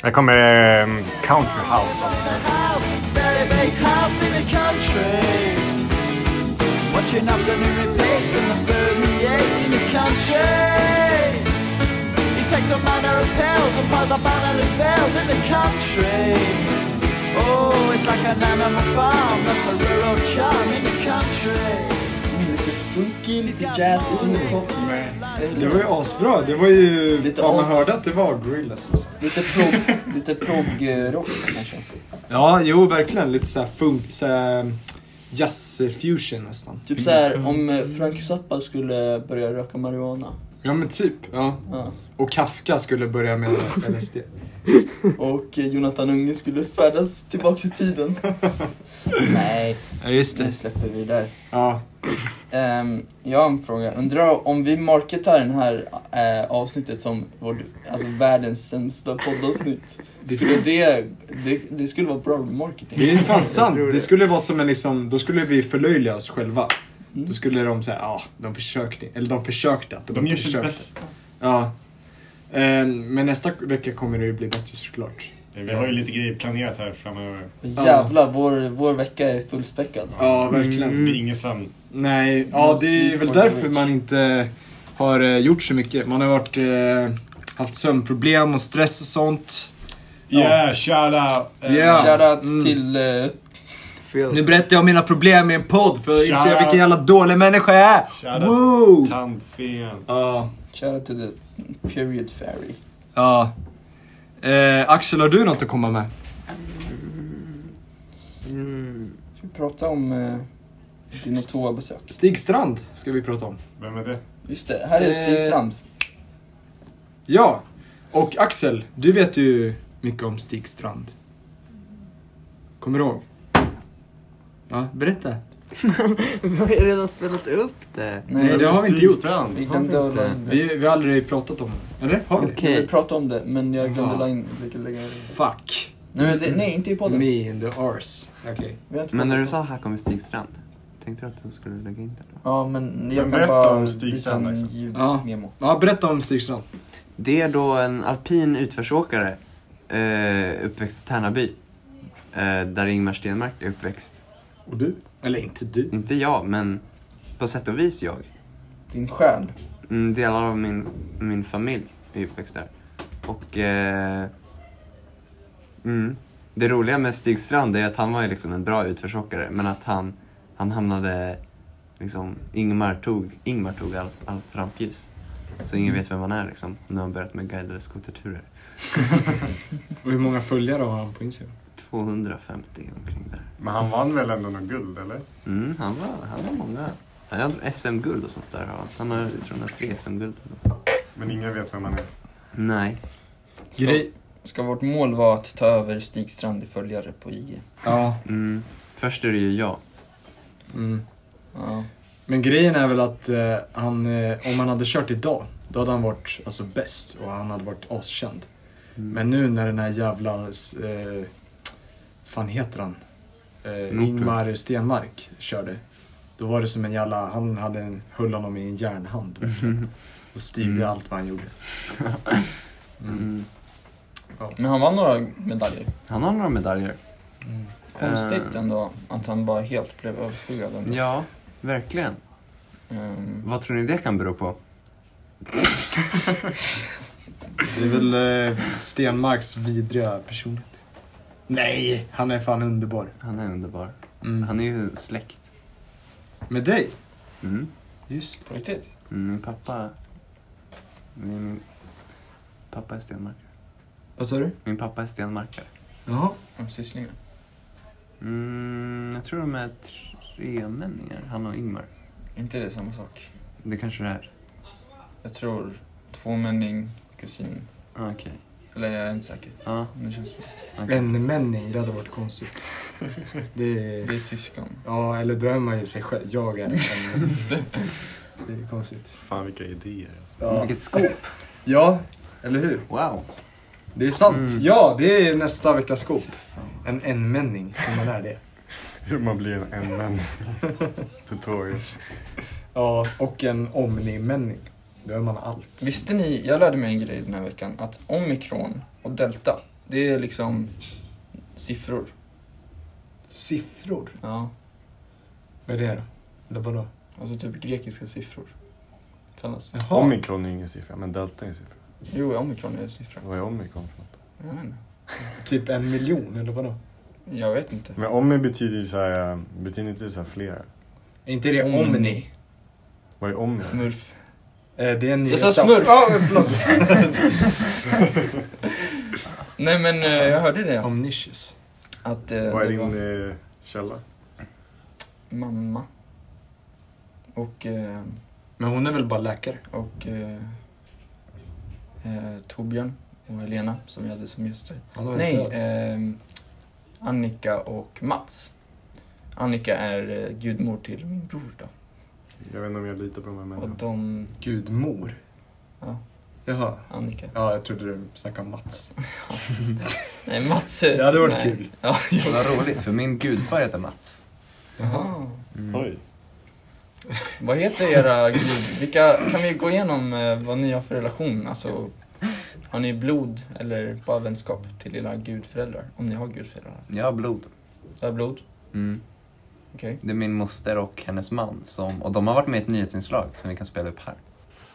Speaker 2: Här kommer ehm, Country House.
Speaker 3: Lite funky, lite jazz, lite hiphop,
Speaker 1: Det var ju asbra. Det var ju...
Speaker 3: Lite
Speaker 1: ja, man
Speaker 3: alt.
Speaker 1: hörde att det var gorillas. Liksom.
Speaker 3: lite prog, lite prog-rock kanske.
Speaker 1: Ja, jo verkligen. Lite såhär funk... Såhär jazz-fusion nästan.
Speaker 3: Typ såhär om eh, Frank Zappa skulle börja röka marijuana.
Speaker 1: Ja men typ. Ja.
Speaker 3: Ja.
Speaker 1: Och Kafka skulle börja med LSD.
Speaker 3: Och eh, Jonathan Unge skulle färdas tillbaks i tiden. Nej,
Speaker 1: Ja just
Speaker 3: nu släpper vi det där.
Speaker 1: Ja.
Speaker 3: Ehm, jag har en fråga. Undrar om vi marketar den här eh, avsnittet som vår, alltså världens sämsta poddavsnitt. Skulle det, det, det skulle vara bra marketing.
Speaker 1: Det är fan sant.
Speaker 7: tror det.
Speaker 1: Det skulle vara som en liksom... Då skulle vi förlöjliga oss själva.
Speaker 3: Mm.
Speaker 1: Då skulle de säga ah, de försökte. Eller de försökte att de,
Speaker 2: De
Speaker 1: inte
Speaker 2: gör sitt
Speaker 1: försökte.
Speaker 2: bästa.
Speaker 1: Ja. Eh, Men nästa vecka kommer det ju bli bättre såklart.
Speaker 2: Vi har ju lite grejer planerat här framöver.
Speaker 3: Jävlar, vår, vår vecka är fullspäckad.
Speaker 1: Ja, verkligen.
Speaker 2: Mm. Det blir ingen sömn.
Speaker 1: Nej, ja
Speaker 3: No
Speaker 1: det är
Speaker 3: sleep
Speaker 1: väl
Speaker 3: for the
Speaker 1: därför
Speaker 3: rich.
Speaker 1: man inte har eh, gjort så mycket. Man har varit, eh, haft sömnproblem och stress och sånt. Ja.
Speaker 2: Yeah, shout out! Eh,
Speaker 1: Yeah.
Speaker 3: Shoutout
Speaker 1: Mm.
Speaker 3: till eh,
Speaker 7: Fel.
Speaker 1: Nu berättar jag om mina problem i en podd för att
Speaker 2: Shout
Speaker 1: inse
Speaker 2: out.
Speaker 1: vilken jävla dålig människa jag är.
Speaker 2: Shout
Speaker 1: Woo!
Speaker 2: out tandfen.
Speaker 1: Ja,
Speaker 3: Shoutout to the period fairy.
Speaker 1: ja. Eh, Axel, har du något att komma med?
Speaker 7: Mm.
Speaker 3: Ska vi prata om eh, dina toabesök?
Speaker 1: Stig Strand ska vi prata om.
Speaker 2: Vem är det?
Speaker 3: Just det, här är Stig
Speaker 1: Eh.
Speaker 3: Strand.
Speaker 1: Ja, och Axel, du vet ju mycket om Stig Strand. Kommer du ihåg? Ja, berätta.
Speaker 7: Vi har ju redan spelat upp det.
Speaker 1: Nej, det har vi inte
Speaker 2: Stig
Speaker 1: gjort.
Speaker 2: Strand.
Speaker 3: Vi glömde att la in det.
Speaker 1: Vi, vi har aldrig pratat om det. Eller? Har vi det?
Speaker 3: Vi
Speaker 7: Okej.
Speaker 3: pratade om det, men jag glömde
Speaker 1: Ja.
Speaker 3: la in vilket lägga det.
Speaker 1: Fuck.
Speaker 3: Nej, men det, nej, inte i podden.
Speaker 1: Me and the Rs. Okej.
Speaker 3: Vi har inte
Speaker 7: Men när du
Speaker 3: pratat
Speaker 7: sa
Speaker 3: om
Speaker 7: här kommer Stig Strand, tänkte du att du skulle lägga in det? då?
Speaker 3: det. Ja, men jag
Speaker 2: Men
Speaker 3: kan
Speaker 2: berätta
Speaker 3: bara
Speaker 2: om Stig
Speaker 3: visa
Speaker 2: Strand,
Speaker 3: en
Speaker 2: liksom.
Speaker 1: Ja.
Speaker 3: ljudmemo.
Speaker 1: Ja, berätta om Stig Strand.
Speaker 7: Det är då en alpin utförsåkare, eh, uppväxt i Tärnaby. Eh, där Ingmar Stenmark är uppväxt.
Speaker 1: Och du? Eller inte du.
Speaker 7: Inte jag, men på sätt och vis jag.
Speaker 3: Din själ.
Speaker 7: Mm, delar av min, min familj är uppväxt där. Och... Eh, mm, det roliga med Stig Strand är att han var ju liksom en bra utförsåkare men att han, han hamnade... Liksom, Ingmar tog, Ingmar tog allt all trampljus. Så ingen vet vem han är liksom. Nu har han börjat med guidade skoterturer.
Speaker 1: Och hur många följare har han på Instagram?
Speaker 7: 250 omkring där.
Speaker 2: Men han vann väl ändå något guld, eller?
Speaker 7: Mm, han var, han var många. Han hade SM-guld och sånt där. har han. Han har, jag tror han har tre SM-guld. eller något sånt.
Speaker 2: Men ingen vet vem han är.
Speaker 7: Nej.
Speaker 3: Ska,
Speaker 1: Grej.
Speaker 3: ska vårt mål vara att ta över Stig Strand i följare på IG?
Speaker 1: Ja.
Speaker 7: Mm. Först är det ju jag.
Speaker 1: Mm.
Speaker 3: Ja.
Speaker 1: Men grejen är väl att eh, han, eh, om han hade kört idag, då hade han varit alltså, bäst och han hade varit askänd. Men nu när den här jävla, eh, fan heter han? Eh,
Speaker 7: Nordlund.
Speaker 1: Ingmar Stenmark körde. Då var det som en jävla, han hade en, höll honom i en järnhand verkligen. Och styrde
Speaker 7: Mm.
Speaker 1: allt vad han gjorde. Mm.
Speaker 7: Mm.
Speaker 3: Men han vann några medaljer.
Speaker 7: Han har några medaljer.
Speaker 3: Konstigt
Speaker 7: Eh.
Speaker 3: ändå att han bara helt blev överskuggad. ändå.
Speaker 7: Ja, verkligen.
Speaker 3: Ehm,
Speaker 7: Vad tror ni det kan bero på?
Speaker 1: Det är väl eh, Stenmarks vidriga personlighet. Nej, han är fan underbar.
Speaker 7: Han är underbar.
Speaker 1: Mm.
Speaker 7: Han är ju släkt.
Speaker 1: Med dig?
Speaker 7: Mm.
Speaker 1: Just
Speaker 3: På riktigt?
Speaker 7: Mm, Min pappa... Min, min pappa är stenmarkare.
Speaker 1: Vad sa du?
Speaker 7: Min pappa är stenmarkare.
Speaker 1: Jaha.
Speaker 3: Om sysslingar?
Speaker 7: Mm, jag tror de är tremänningar, han och Ingmar.
Speaker 3: Är inte det samma sak?
Speaker 7: Det kanske det är.
Speaker 3: Jag tror tvåmänning, kusin.
Speaker 7: Ah, Okej.
Speaker 3: Eller jag är inte säker.
Speaker 7: Ja,
Speaker 3: Men Det känns som att
Speaker 7: okej.
Speaker 1: En männing, det hade varit konstigt. Det
Speaker 3: det
Speaker 1: är...
Speaker 3: är syskon.
Speaker 1: Ja, eller då är man ju sig själv. Jag är en männing. Det är konstigt.
Speaker 2: Fan vilka idéer.
Speaker 1: Ja.
Speaker 7: Vilket skop!
Speaker 1: ja, eller hur?
Speaker 7: Wow!
Speaker 1: Det är sant.
Speaker 7: Mm.
Speaker 1: Ja, det är nästa veckas skop. En enmänning, om man är det.
Speaker 2: Hur man blir en en-man. Tutorial.
Speaker 1: Ja, och en omnimänning. Då är man allt.
Speaker 3: Visste ni, jag lärde mig en grej den här veckan, att omikron och delta, det är liksom siffror.
Speaker 1: Siffror?
Speaker 3: Ja.
Speaker 1: Vad är det då? Eller vadå?
Speaker 3: Alltså typ grekiska siffror. Kallas.
Speaker 1: Jaha.
Speaker 2: Omikron är ingen siffra, men delta är en siffra.
Speaker 3: Jo, omikron är siffra.
Speaker 2: Vad är omikron för något?
Speaker 3: Jag vet inte.
Speaker 1: Typ en miljon, eller vadå?
Speaker 3: Jag vet inte.
Speaker 2: Men omi betyder ju så här, betyder inte så här flera?
Speaker 1: Är inte det
Speaker 3: Omni.
Speaker 1: omni?
Speaker 8: Vad är Omni?
Speaker 9: Smurf.
Speaker 1: Eh, det är en
Speaker 3: Jag sa
Speaker 1: nyhetsapp.
Speaker 3: smurf.
Speaker 1: Ja, men förlåt.
Speaker 3: Nej men eh, jag hörde det.
Speaker 1: Omniscious.
Speaker 3: Att eh,
Speaker 2: Vad är
Speaker 3: det var
Speaker 2: din eh, källa?
Speaker 3: mamma. Och, eh,
Speaker 1: Men hon är väl bara läkare?
Speaker 3: och eh, eh, Torbjörn och Helena som vi hade som gäster.
Speaker 1: Han har
Speaker 3: Nej,
Speaker 1: inte dött.
Speaker 3: ehm, Annika och Mats. Annika är eh, gudmor till min bror då.
Speaker 2: Jag vet inte om jag litar på de här
Speaker 3: Och
Speaker 2: människorna.
Speaker 3: de,
Speaker 1: Gudmor?
Speaker 3: Ja.
Speaker 1: Jaha.
Speaker 3: Annika.
Speaker 1: Ja, jag trodde du snackade om Mats.
Speaker 3: Nej, Mats.
Speaker 1: Det hade varit
Speaker 3: nej.
Speaker 1: kul.
Speaker 3: Ja, jo.
Speaker 7: Vad roligt, för min gudfar heter Mats.
Speaker 3: Jaha.
Speaker 8: Oj.
Speaker 3: Vad heter era gud... Vilka, kan vi gå igenom eh, vad ni har för relation? Alltså, har ni blod eller bara vänskap till era gudföräldrar? Om ni har gudföräldrar.
Speaker 7: Jag har blod.
Speaker 3: Det är blod,
Speaker 7: Mm.
Speaker 3: okej.
Speaker 7: Det är min moster och hennes man. Som, och de har varit med i ett nyhetsinslag som vi kan spela upp här.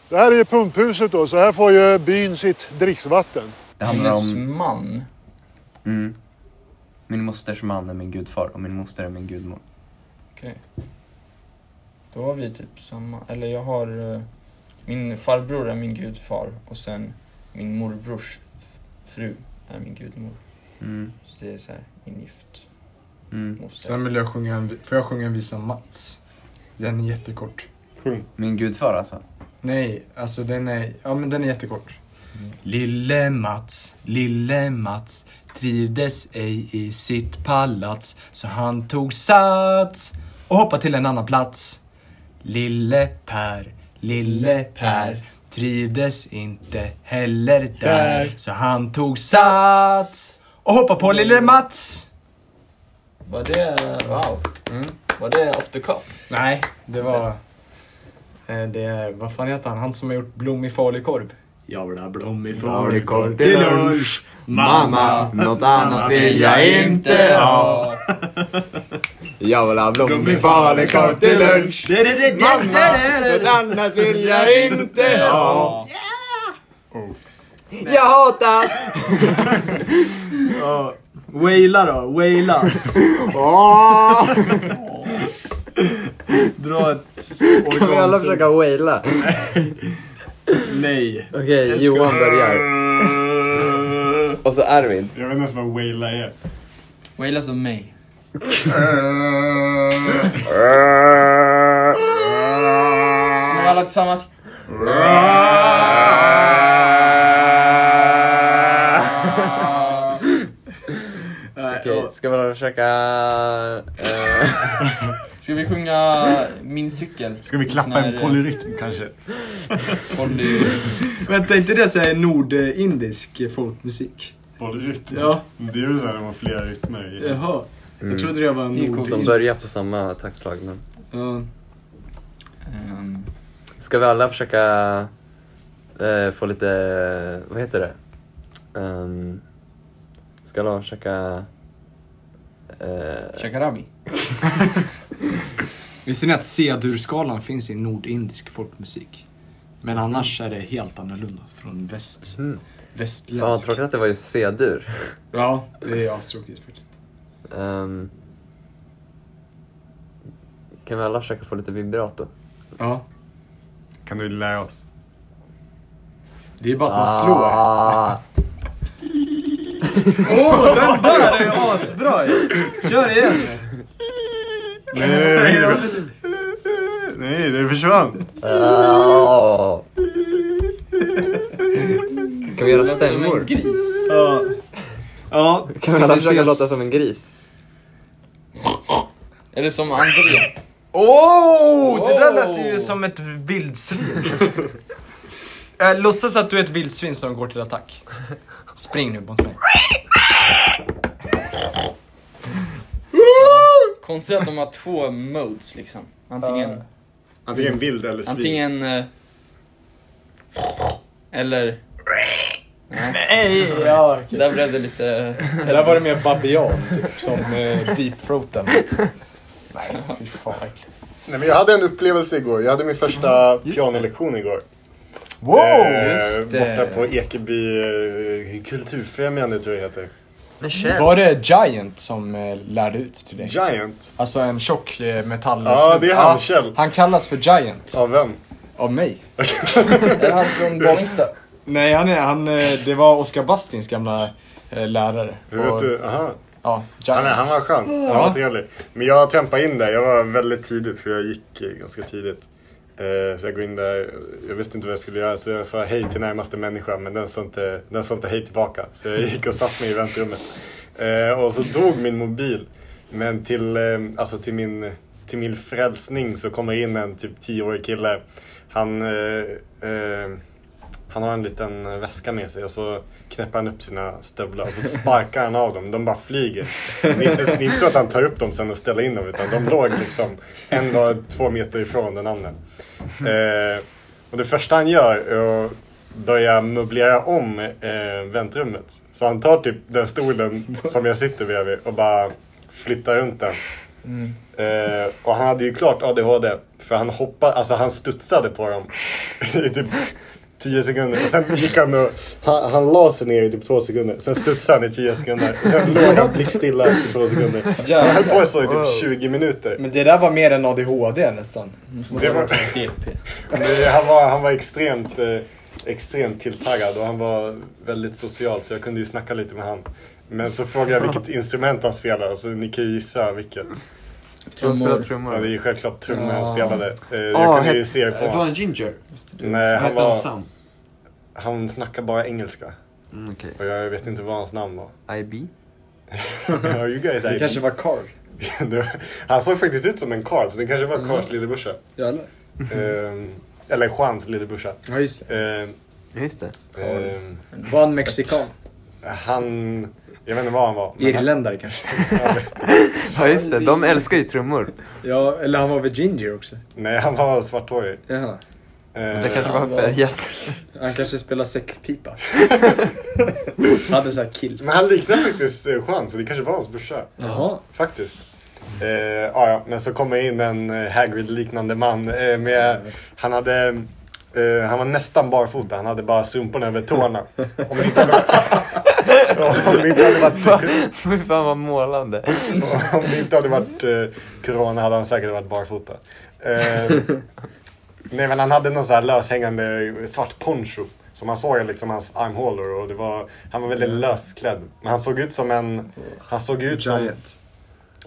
Speaker 10: Det här är ju pumphuset då, så här får ju byn sitt dricksvatten.
Speaker 7: Det handlar
Speaker 3: Hennes
Speaker 7: om...
Speaker 3: man.
Speaker 7: Mm, min mosters man är min gudfar och min moster är min gudmor.
Speaker 3: Okej. Då har vi typ samma, eller jag har, eh, min farbror är min gudfar och sen min morbrors f- fru är min gudmor.
Speaker 7: Mm,
Speaker 3: Så det är så här, ingift
Speaker 7: mm.
Speaker 3: moster.
Speaker 1: Sen vill jag sjunga en, vi- får jag sjunga en visa om Mats? Den är jättekort.
Speaker 7: Min gudfar alltså.
Speaker 1: Nej, alltså den är, ja men den är jättekort. Mm. Lille Mats, lille Mats trivdes ej i sitt palats så han tog sats och hoppade till en annan plats. Lille Per, lille Per trivdes inte heller där så han tog sats och hoppade på lille Mats.
Speaker 3: Var det, wow.
Speaker 7: Mm.
Speaker 3: Var det off the cuff?
Speaker 1: Nej, det var... eh, Det är, vad fan heter han? Han som har gjort blommig falukorv. Jag vill ha blommig falukorv till lunch. Mamma,
Speaker 7: något annat vill jag
Speaker 9: inte ha.
Speaker 7: Jag vill ha blommig
Speaker 8: falukorv till lunch.
Speaker 7: Något annat vill jag inte ha. Jag hatar
Speaker 1: Ja. Waila då, waila. Dra ett
Speaker 7: Kan vi alla
Speaker 1: organsudd.
Speaker 7: försöka waila?
Speaker 1: Nej.
Speaker 7: Okej, Johan börjar. Och så Arvid.
Speaker 2: Jag vet inte ens vad Waila är.
Speaker 3: Waila som mig.
Speaker 9: Så nu alla tillsammans.
Speaker 7: Okej, ska man försöka... eh,
Speaker 9: Ska vi sjunga Min cykel?
Speaker 2: Ska vi
Speaker 9: Sån
Speaker 2: klappa
Speaker 9: här,
Speaker 2: en polyrytm kanske?
Speaker 9: poly...
Speaker 1: Vänta, inte det såhär nordindisk folkmusik?
Speaker 2: Polyrytm?
Speaker 1: Ja.
Speaker 2: Det är väl såhär när man har flera rytmer i.
Speaker 1: Jaha. Jag trodde det var
Speaker 9: Det är ju
Speaker 1: nordindisk.
Speaker 7: som börjar på samma taktslag. Men...
Speaker 1: Ja.
Speaker 3: Ehm,
Speaker 7: Ska vi alla försöka eh, få lite... Vad heter det? Ehm, ska alla försöka... eh,
Speaker 3: Shakarabi.
Speaker 1: Visste ni att C-dur-skalan finns i nordindisk folkmusik? Men annars är det helt annorlunda från väst,
Speaker 7: Mm. Fan vad
Speaker 1: västländsk.
Speaker 7: tråkigt att det var just C-dur.
Speaker 1: ja, det är astråkigt faktiskt.
Speaker 7: Ehm, kan vi alla försöka få lite vibrato?
Speaker 1: Ja,
Speaker 2: Kan du lära oss?
Speaker 1: det är bara att man slår.
Speaker 7: Ah,
Speaker 1: Åh, oh, den där är asbra ju. Kör igen!
Speaker 2: Nej, nej, nej, nej, det försvann. nej, det försvann.
Speaker 7: ah. Kan vi göra stämmor?
Speaker 1: Ja. Ja,
Speaker 7: Kan vi alla försöka låta som en gris?
Speaker 3: Eller som André.
Speaker 1: Åh! Det där lät ju
Speaker 3: Oh.
Speaker 1: som ett vildsvin. Äh, låtsas att du är ett vildsvin som går till attack. Spring nu mot mig.
Speaker 3: Konstigt att de har två modes liksom. Antingen
Speaker 2: Antingen vild eller svin.
Speaker 3: Antingen... eh, Eller... Nej,
Speaker 1: Nej, ja.
Speaker 3: där blev det lite...
Speaker 1: Där var det mer babian, typ som eh, deepfroaten. Nej, fy fan vad äckligt.
Speaker 10: Nej, men jag hade en upplevelse igår. Jag hade min första pianolektion igår.
Speaker 1: Wow!
Speaker 2: Eh,
Speaker 3: just det.
Speaker 2: Borta på Ekeby eh, kulturfrämjande tror jag det heter.
Speaker 7: Men Kjell,
Speaker 1: Var det Giant som eh, lärde ut till dig?
Speaker 2: Giant?
Speaker 1: Alltså en tjock eh, metall...
Speaker 2: Ja, det är han, Kjell.
Speaker 1: Han kallas för Giant.
Speaker 2: Av vem?
Speaker 1: Av mig.
Speaker 9: Är han från Bollingstad?
Speaker 1: Nej, han är, han, eh, det var Oskar Bastins gamla eh, lärare.
Speaker 2: Hur vet du? Aha.
Speaker 1: Ja, Giant.
Speaker 2: Han, är, han var skön. Han var trevlig. Men jag trampade in där. Jag var väldigt tidigt för jag gick eh, ganska tidigt. Eh, Så jag går in där. Jag visste inte vad jag skulle göra så jag sa hej till närmaste människa men den sa inte, den sa inte hej tillbaka. Så jag gick och satt mig i väntrummet. Eh, Och så dog min mobil. Men till, eh, alltså till, min, till min frälsning så kommer in en typ tioårig kille. Han, eh, eh, han har en liten väska med sig och så knäpper han upp sina stövlar och så sparkar han av dem. De bara flyger. Det är inte, det är inte så att han tar upp dem sen och ställer in dem utan de låg liksom en var två meter ifrån den andra. Eh, och det första han gör är att börja möblera om eh, väntrummet. Så han tar typ den stolen som jag sitter bredvid och bara flyttar runt den. Eh, och han hade ju klart ADHD. För han hoppade, alltså han studsade på dem i typ 10 sekunder. Och sen gick han och, han, han la sig ner i typ 2 sekunder. Sen studsade han i 10 sekunder. Sen låg han blickstilla i 2 sekunder. Han höll på så i
Speaker 1: Wow.
Speaker 2: typ 20 minuter.
Speaker 1: Men det där var mer än ADHD nästan.
Speaker 2: Det var, det, han, var, han var extremt, eh, extremt tilltaggad och han var väldigt social så jag kunde ju snacka lite med han. Men så frågade jag vilket instrument han spelade så ni kan ju gissa vilket.
Speaker 7: han spelar
Speaker 2: Ja, det är
Speaker 7: trummor.
Speaker 2: ju självklart trummor han
Speaker 7: Ja.
Speaker 2: spelade. Eh, jag
Speaker 1: Ah,
Speaker 7: Ja,
Speaker 2: kunde ju
Speaker 7: het-
Speaker 2: se på
Speaker 7: Det var
Speaker 2: honom.
Speaker 7: en ginger.
Speaker 2: Nej, han
Speaker 7: Hette han
Speaker 2: var,
Speaker 7: Sam?
Speaker 2: han snackade bara engelska.
Speaker 7: Mm, Okej.
Speaker 2: Och jag vet inte vad hans namn var.
Speaker 7: IB?
Speaker 2: Ja, you guys
Speaker 1: Det kanske
Speaker 2: are...
Speaker 1: var Carl.
Speaker 2: Han såg faktiskt ut som en karl, så det kanske
Speaker 1: Mm.
Speaker 2: var Karls lillebrorsa.
Speaker 1: Jävlar.
Speaker 2: Ehm, eller Juans lillebrorsa.
Speaker 1: Ja, just det.
Speaker 2: Ehm,
Speaker 7: Ja, just det.
Speaker 2: ehm,
Speaker 1: Var han mexikan?
Speaker 2: han... Jag vet inte vad han var. men han-
Speaker 1: Irländare kanske?
Speaker 7: Ja, just det. De älskar ju trummor.
Speaker 1: Ja, eller han var väl ginger också?
Speaker 2: Nej, han var svarthårig.
Speaker 1: Jaha.
Speaker 2: Ehm,
Speaker 7: Det kanske var färgat.
Speaker 1: Han kanske spelar säckpipa. Hade så här kill.
Speaker 2: Men han liknar faktiskt eh, Juan, så det kanske var hans brorsa.
Speaker 1: Jaha.
Speaker 2: Faktiskt. Eh, ja, ja, men så kommer in en eh, Hagrid-liknande man. Eh, med, han, hade, eh, han var nästan barfota, han hade bara strumporna över tårna. Om det inte hade varit, om det inte hade varit,
Speaker 7: Fy fan vad målande.
Speaker 2: om det inte hade varit eh, corona hade han säkert varit barfota. Eh, nej, men han hade någon så här löshängande svart poncho. Som man såg liksom hans armhålor och det var, han var väldigt löst klädd. Men han såg ut som en, han såg ut som
Speaker 1: Giant.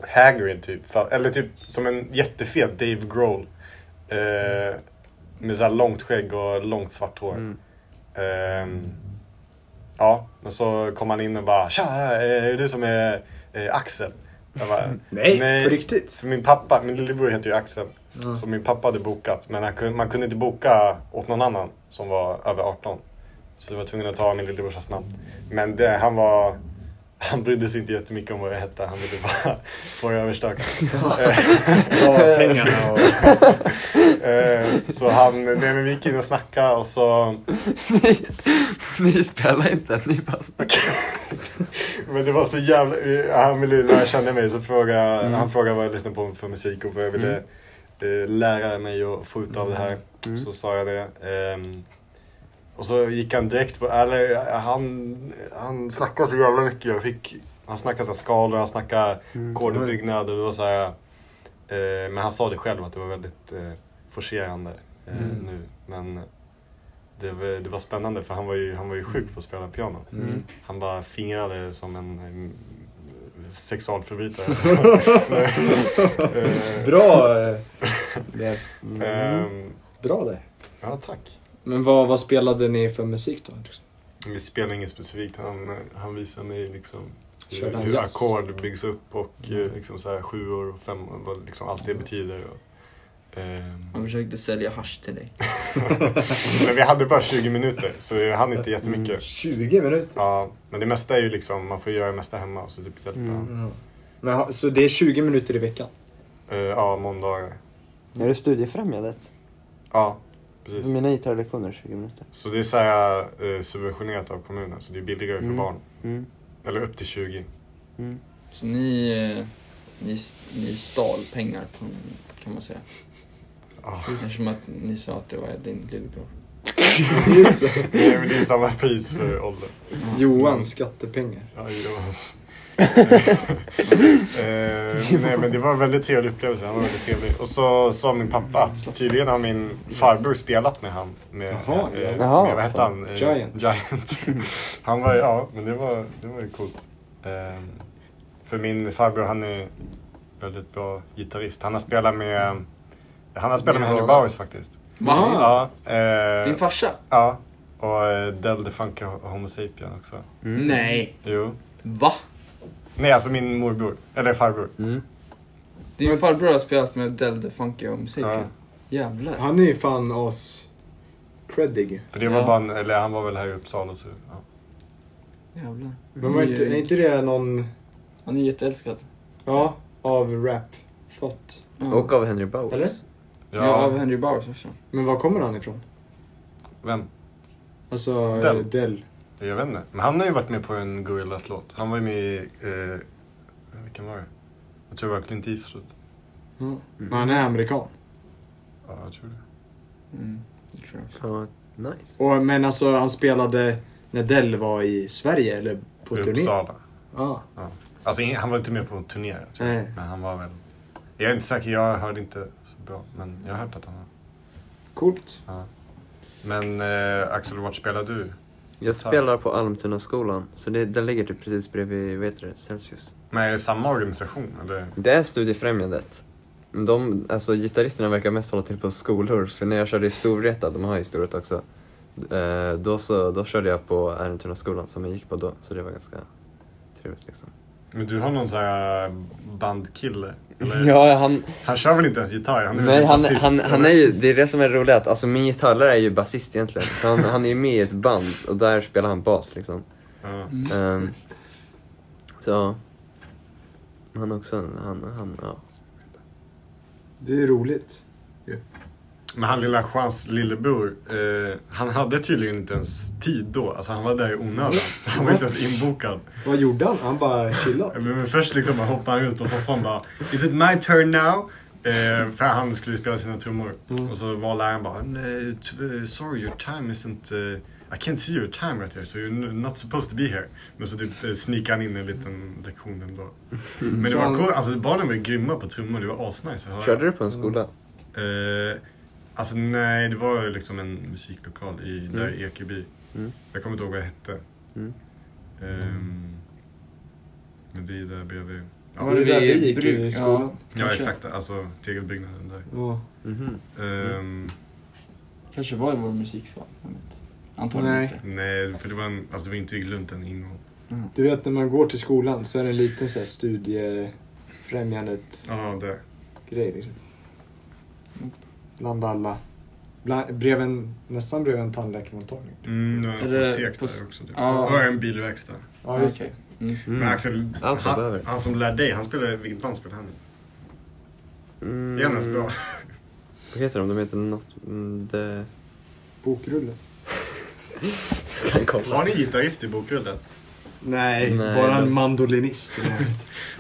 Speaker 2: Hagrid typ. Fa- Eller typ som en jättefet Dave Grohl. Eh, med så här långt skägg och långt svart hår.
Speaker 7: Mm.
Speaker 2: Ehm, ja, men så kom han in och bara Tja, eh, är du som är eh, Axel? Jag bara,
Speaker 1: Nej, på riktigt?
Speaker 2: För min pappa, min lillebror heter ju Axel. Så min pappa hade bokat, men han kunde, man kunde inte boka åt någon annan som var över 18. Så jag var tvungen att ta min lillebrorsas namn. Men det, han var... Han brydde sig inte jättemycket om vad jag hette, han ville bara få det överstökat. Eh,
Speaker 1: Ja, pengarna och...
Speaker 2: eh, så han, nej men vi gick in och snackade och så...
Speaker 7: Ni, ni spelar inte, ni bara snackar.
Speaker 2: Men det var så jävla... Han ville lära känna mig så frågade, han frågade vad jag lyssnade på för musik och vad jag ville eh, lära mig att få ut av det här. Så sa jag det. Ehm, och så gick han direkt på... Eller, han, han snackade så jävla mycket. Jag fick, han snackade så här skalor, han snackade ackorduppbyggnad och det var så här, eh, Men han sa det själv att det var väldigt eh, forcerande eh, nu. Men det var, det var spännande för han var ju, han var ju
Speaker 1: Mm.
Speaker 2: sjuk på att spela piano. Han bara fingrade som en mm, sexualförbrytare. Eh,
Speaker 1: Bra, eh, Mm.
Speaker 2: ehm,
Speaker 1: bra det.
Speaker 2: ja, tack.
Speaker 1: Men vad, vad spelade ni för musik då?
Speaker 2: Vi spelade inget specifikt. Han, han visade mig liksom hur,
Speaker 1: Körde han
Speaker 2: hur
Speaker 1: jazz? Mm.
Speaker 2: ackord byggs upp och eh, liksom så här sjuor och femmor, vad liksom allt det betyder. Och,
Speaker 1: Mm.
Speaker 2: ehm,
Speaker 3: Han försökte sälja hasch till dig.
Speaker 2: men vi hade bara 20 minuter så jag hann
Speaker 1: Mm.
Speaker 2: inte jättemycket.
Speaker 1: 20 minuter?
Speaker 2: Ja, men det mesta är ju liksom, man får göra det mesta hemma och så typ hjälper
Speaker 1: Mm.
Speaker 2: han.
Speaker 1: Men, ha- så det är 20 minuter i veckan?
Speaker 2: Eh, ja, måndagar.
Speaker 7: Är det studiefrämjandet?
Speaker 2: Ja, precis.
Speaker 7: Mina gitarrlektioner 20 minuter.
Speaker 2: Så det är så här, eh, subventionerat av kommunen, så det är billigare för
Speaker 7: Mm.
Speaker 2: barn.
Speaker 7: Mm.
Speaker 2: Eller upp till 20.
Speaker 3: Så ni, eh, ni, ni stal pengar på honom, kan man säga.
Speaker 1: Ah.
Speaker 2: Ja.
Speaker 3: Eftersom att ni sa att det var din lillebror.
Speaker 1: Just det.
Speaker 2: Det är, det är samma pris för ålder.
Speaker 1: Johans skattepengar.
Speaker 2: Ja, det är- Eh, nej men det var en väldigt trevlig upplevelse. Han var väldigt trevlig. Och så sa min pappa, tydligen har min farbror spelat med han. Med,
Speaker 1: Jaha,
Speaker 2: eh,
Speaker 1: ja.
Speaker 2: med
Speaker 7: Jaha,
Speaker 2: vad hette han? Eh,
Speaker 1: Giant.
Speaker 2: Giant. Han var, ja men det var, det var ju coolt. Eh, för min farbror han är väldigt bra gitarrist. Han har spelat med, han har spelat med Henry Bowers faktiskt.
Speaker 3: Va?
Speaker 2: Ja, eh,
Speaker 3: Din farsa?
Speaker 2: ja. Och eh, Del DeFunk och Homo Sapien också.
Speaker 1: Mm.
Speaker 3: Nej.
Speaker 2: Jo.
Speaker 3: Va?
Speaker 2: Nej alltså min morbror, eller farbror.
Speaker 3: Din farbror har spelat med Del DeFunky och musiken.
Speaker 2: Ja.
Speaker 3: Jävlar.
Speaker 1: Han är ju fan as... Creddig.
Speaker 2: För det var
Speaker 3: Ja.
Speaker 2: bara, en, eller han var väl här i Uppsala så. Ja.
Speaker 3: Jävlar.
Speaker 1: Men var inte, är inte det någon...
Speaker 3: Han är jätteälskad.
Speaker 1: Ja, av rap thought.
Speaker 3: Ja.
Speaker 7: Och av Henry Bowers.
Speaker 1: Eller?
Speaker 3: Ja. av Henry Bowers också.
Speaker 1: Men var kommer han ifrån?
Speaker 2: Vem?
Speaker 1: Alltså, Del.
Speaker 2: Del.
Speaker 1: Del.
Speaker 2: Jag vet inte. Men han har ju varit med på en Gorillaz låt. Han var ju med i, eh, vilken var det? Jag tror det var Clint Eastwood.
Speaker 1: Ja. Men Mm. han är amerikan.
Speaker 2: Ja, jag tror det.
Speaker 3: Mm, det tror jag också.
Speaker 7: Fan vad nice.
Speaker 1: Och, men alltså, han spelade när Del var i Sverige, eller på turné.
Speaker 2: Uppsala.
Speaker 1: Ja.
Speaker 2: Alltså in- han var inte med på en turné jag tror jag.
Speaker 1: Nej.
Speaker 2: Men han var väl. Jag är inte säker, jag hörde inte så bra. Men jag har hört att han var.
Speaker 1: Coolt.
Speaker 2: Men eh, Axel, vart spelar du?
Speaker 7: Jag spelar på Almtunaskolan, så det, den ligger typ precis bredvid, vad heter det, Celsius.
Speaker 2: Men är det samma organisation eller?
Speaker 7: Det är Studiefrämjandet. De, alltså gitarristerna verkar mest hålla till på skolor, för när jag körde i Storvreta, de har ju Storvreta också, eh, då, så, då körde jag på Ärntunaskolan som jag gick på då, så det var ganska trevligt liksom.
Speaker 2: Men du har någon sån här bandkille? Eller?
Speaker 7: Ja, han,
Speaker 2: Han kör väl inte ens gitarr? Han är väl
Speaker 7: nej, han,
Speaker 2: basist,
Speaker 7: han, han
Speaker 2: eller?
Speaker 7: är ju, det är det som är roligt, att, alltså min gitarrlärare är ju basist egentligen. Han, han är ju med i ett band och där spelar han bas liksom.
Speaker 2: Ja.
Speaker 7: Ehm, så, ja. han också, en- han, han, ja.
Speaker 1: Det är roligt.
Speaker 2: Men han lilla Juans lillebror, eh, han hade tydligen inte ens tid då. Alltså han var där i onödan. Han var inte ens inbokad.
Speaker 1: Vad gjorde han? Han bara chillade.
Speaker 2: Men, men först liksom bara hoppade han ut på soffan och bara Is it my turn now? Eh, för han skulle spela sina trummor.
Speaker 1: Mm.
Speaker 2: Och så var läraren bara "Nej, t- eh, Sorry your time isn't... eh, I can't see your time right here so you're n- not supposed to be here. Men så typ eh, sneakade han in en liten lektion ändå. Men det
Speaker 1: Så
Speaker 2: var
Speaker 1: han-
Speaker 2: coolt, alltså barnen var grymma på trummor. Det var asnice att höra.
Speaker 7: Körde du på en skola?
Speaker 2: Eh, alltså nej, det var liksom en musiklokal i, där i Ekeby.
Speaker 7: Mm.
Speaker 2: Jag kommer inte ihåg vad det hette.
Speaker 7: Mm.
Speaker 2: Ehm, men det är där bredvid. Ja,
Speaker 1: Var det där vi gick
Speaker 3: bruk-
Speaker 1: i skolan?
Speaker 2: ja exakt, alltså tegelbyggnaden där.
Speaker 1: Ja.
Speaker 7: Mhm.
Speaker 2: Ehm,
Speaker 3: Kanske var i vår musikskola. jag vet inte. Antagligen
Speaker 1: Nej.
Speaker 3: inte.
Speaker 2: nej, för det var, en, alltså, det var inte i Lund en ingång.
Speaker 1: Du vet när man går till skolan så är det en liten så här studiefrämjandet
Speaker 2: Ja, där.
Speaker 1: grej liksom. Bland alla. Bland, bredvid en, nästan bredvid en tandläkarmottagning.
Speaker 2: Mm, det var
Speaker 3: Är det
Speaker 2: en apotek
Speaker 3: på s-
Speaker 2: där också. Typ.
Speaker 3: Ja.
Speaker 2: Och en bilverkstad.
Speaker 1: Ja, just
Speaker 3: Okej.
Speaker 1: det.
Speaker 7: Mm.
Speaker 2: Men Axel,
Speaker 7: Allt man
Speaker 2: han,
Speaker 7: behöver.
Speaker 2: han som lär dig, han spelar, vilket band spelar han i?
Speaker 7: Mm.
Speaker 2: Är han ens bra?
Speaker 7: Vad heter de? De heter något... mm, Det...
Speaker 1: Bokrulle.
Speaker 7: Jag kan kolla.
Speaker 2: Har ni gitarrist i bokrullen?
Speaker 1: Nej,
Speaker 7: Nej,
Speaker 1: bara
Speaker 7: det-
Speaker 1: en mandolinist.